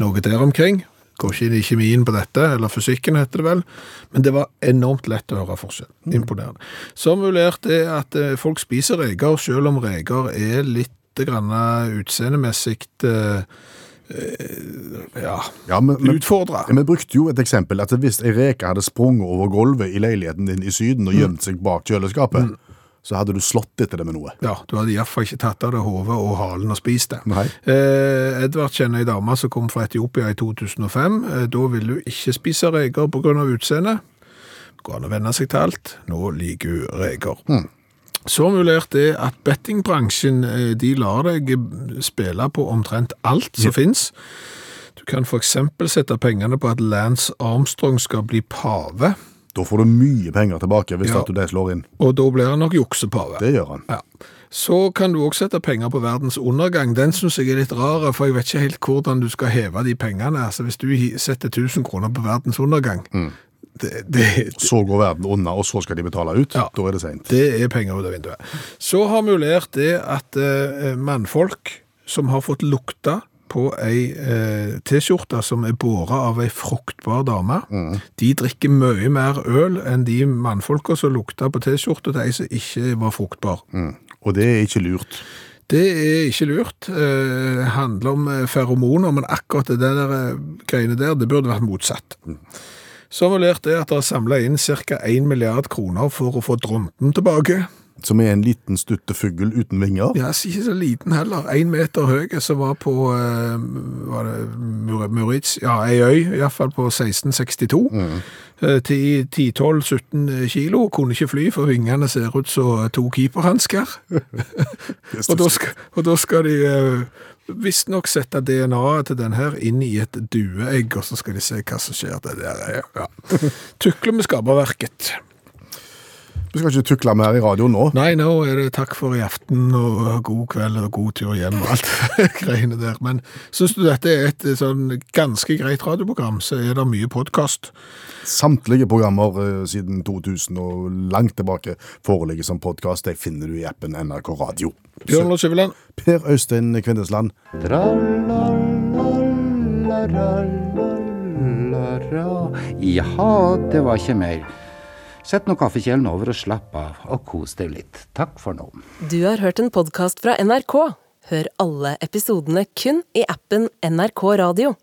[SPEAKER 3] noe der omkring. Går ikke inn i kjemien på dette, eller fysikken heter det vel, men det var enormt lett å høre forskjell. Imponerende. Som vi lærte er at eh, folk spiser reker, selv om reker er litt grann utseendemessig eh, eh, ja,
[SPEAKER 4] Ja, men, men,
[SPEAKER 3] utfordret.
[SPEAKER 4] vi brukte jo et eksempel at hvis ei reke hadde sprunget over gulvet i leiligheten din i Syden og
[SPEAKER 3] Mm.
[SPEAKER 4] gjemt seg bak kjøleskapet, så hadde du slått etter det med noe.
[SPEAKER 3] Ja, du hadde iallfall ikke tatt av deg hodet og halen og spist det.
[SPEAKER 4] Nei.
[SPEAKER 3] Eh, Edvard kjenner ei dame som kom fra Etiopia i 2005. Eh, da ville hun ikke spise reker pga. utseendet. Går an å venne seg til alt. Nå liker hun reker. Så mulert er at bettingbransjen eh, de lar deg spille på omtrent alt som finnes. Du kan f.eks. sette pengene på at Lance Armstrong skal bli pave,
[SPEAKER 4] Da får du mye penger tilbake hvis
[SPEAKER 3] Ja.
[SPEAKER 4] at du det slår inn.
[SPEAKER 3] og da blir han nok juksepave.
[SPEAKER 4] Det gjør han.
[SPEAKER 3] Ja. Så kan du også sette penger på verdens undergang. Den synes jeg er litt rar, for jeg vet ikke helt hvordan du skal heve de pengene. Altså, hvis du hi- setter 1000 kroner på verdens undergang, det, det,
[SPEAKER 4] Så går verden unna, og så skal de betale ut.
[SPEAKER 3] Ja.
[SPEAKER 4] Da er det seint.
[SPEAKER 3] det er penger ut av vinduet. Så har vi jo lært det at eh, mannfolk som har fått lukta på ei eh, T-skjorte som er båret av ei fruktbar dame, de drikker mye mer øl enn de mannfolka som lukta på T-skjorta til ei som ikke var fruktbar.
[SPEAKER 4] Og det er ikke lurt.
[SPEAKER 3] Det er ikke lurt. Eh, Det handler om eh, feromoner, men akkurat det der eh, greiene der, det burde vært motsatt. Så har vi lært det at det er samla inn ca. 1 milliard kroner for å få drompen tilbake.
[SPEAKER 4] Som er en liten stutte fugl uten vinger.
[SPEAKER 3] Ja, så ikke så liten heller. Én meter høy, som var på eh, var det Mur- Muriz, ja, ei øy, iallfall på 1662. Eh, 10-12-17 kilo. Kunne ikke fly, for vingene ser ut som to keeperhansker. Og da skal, og da skal de eh, visstnok sette DNA-et til den her inn i et dueegg, og så skal de se hva som skjer. Det der er ja. Tukle med skaperverket.
[SPEAKER 4] Du skal ikke tukle mer i radioen nå.
[SPEAKER 3] Nei, nå er det takk for i aften, og god kveld og god tur hjem og alt det greiene der. Men syns du dette er et eh, sånn ganske greit radioprogram, så er det mye podkast.
[SPEAKER 4] Samtlige programmer eh, siden 2000 og langt tilbake foreligger som podkast. De finner du i appen NRK Radio.
[SPEAKER 3] Bjørn Lars Skjæveland,
[SPEAKER 4] Per Øystein Kvindesland,
[SPEAKER 2] Jaha, det var ikke mer. Sett nå kaffekjelen over og slapp av, og kos deg litt. Takk for nå.
[SPEAKER 1] Du har hørt en podkast fra NRK. Hør alle episodene kun i appen NRK Radio.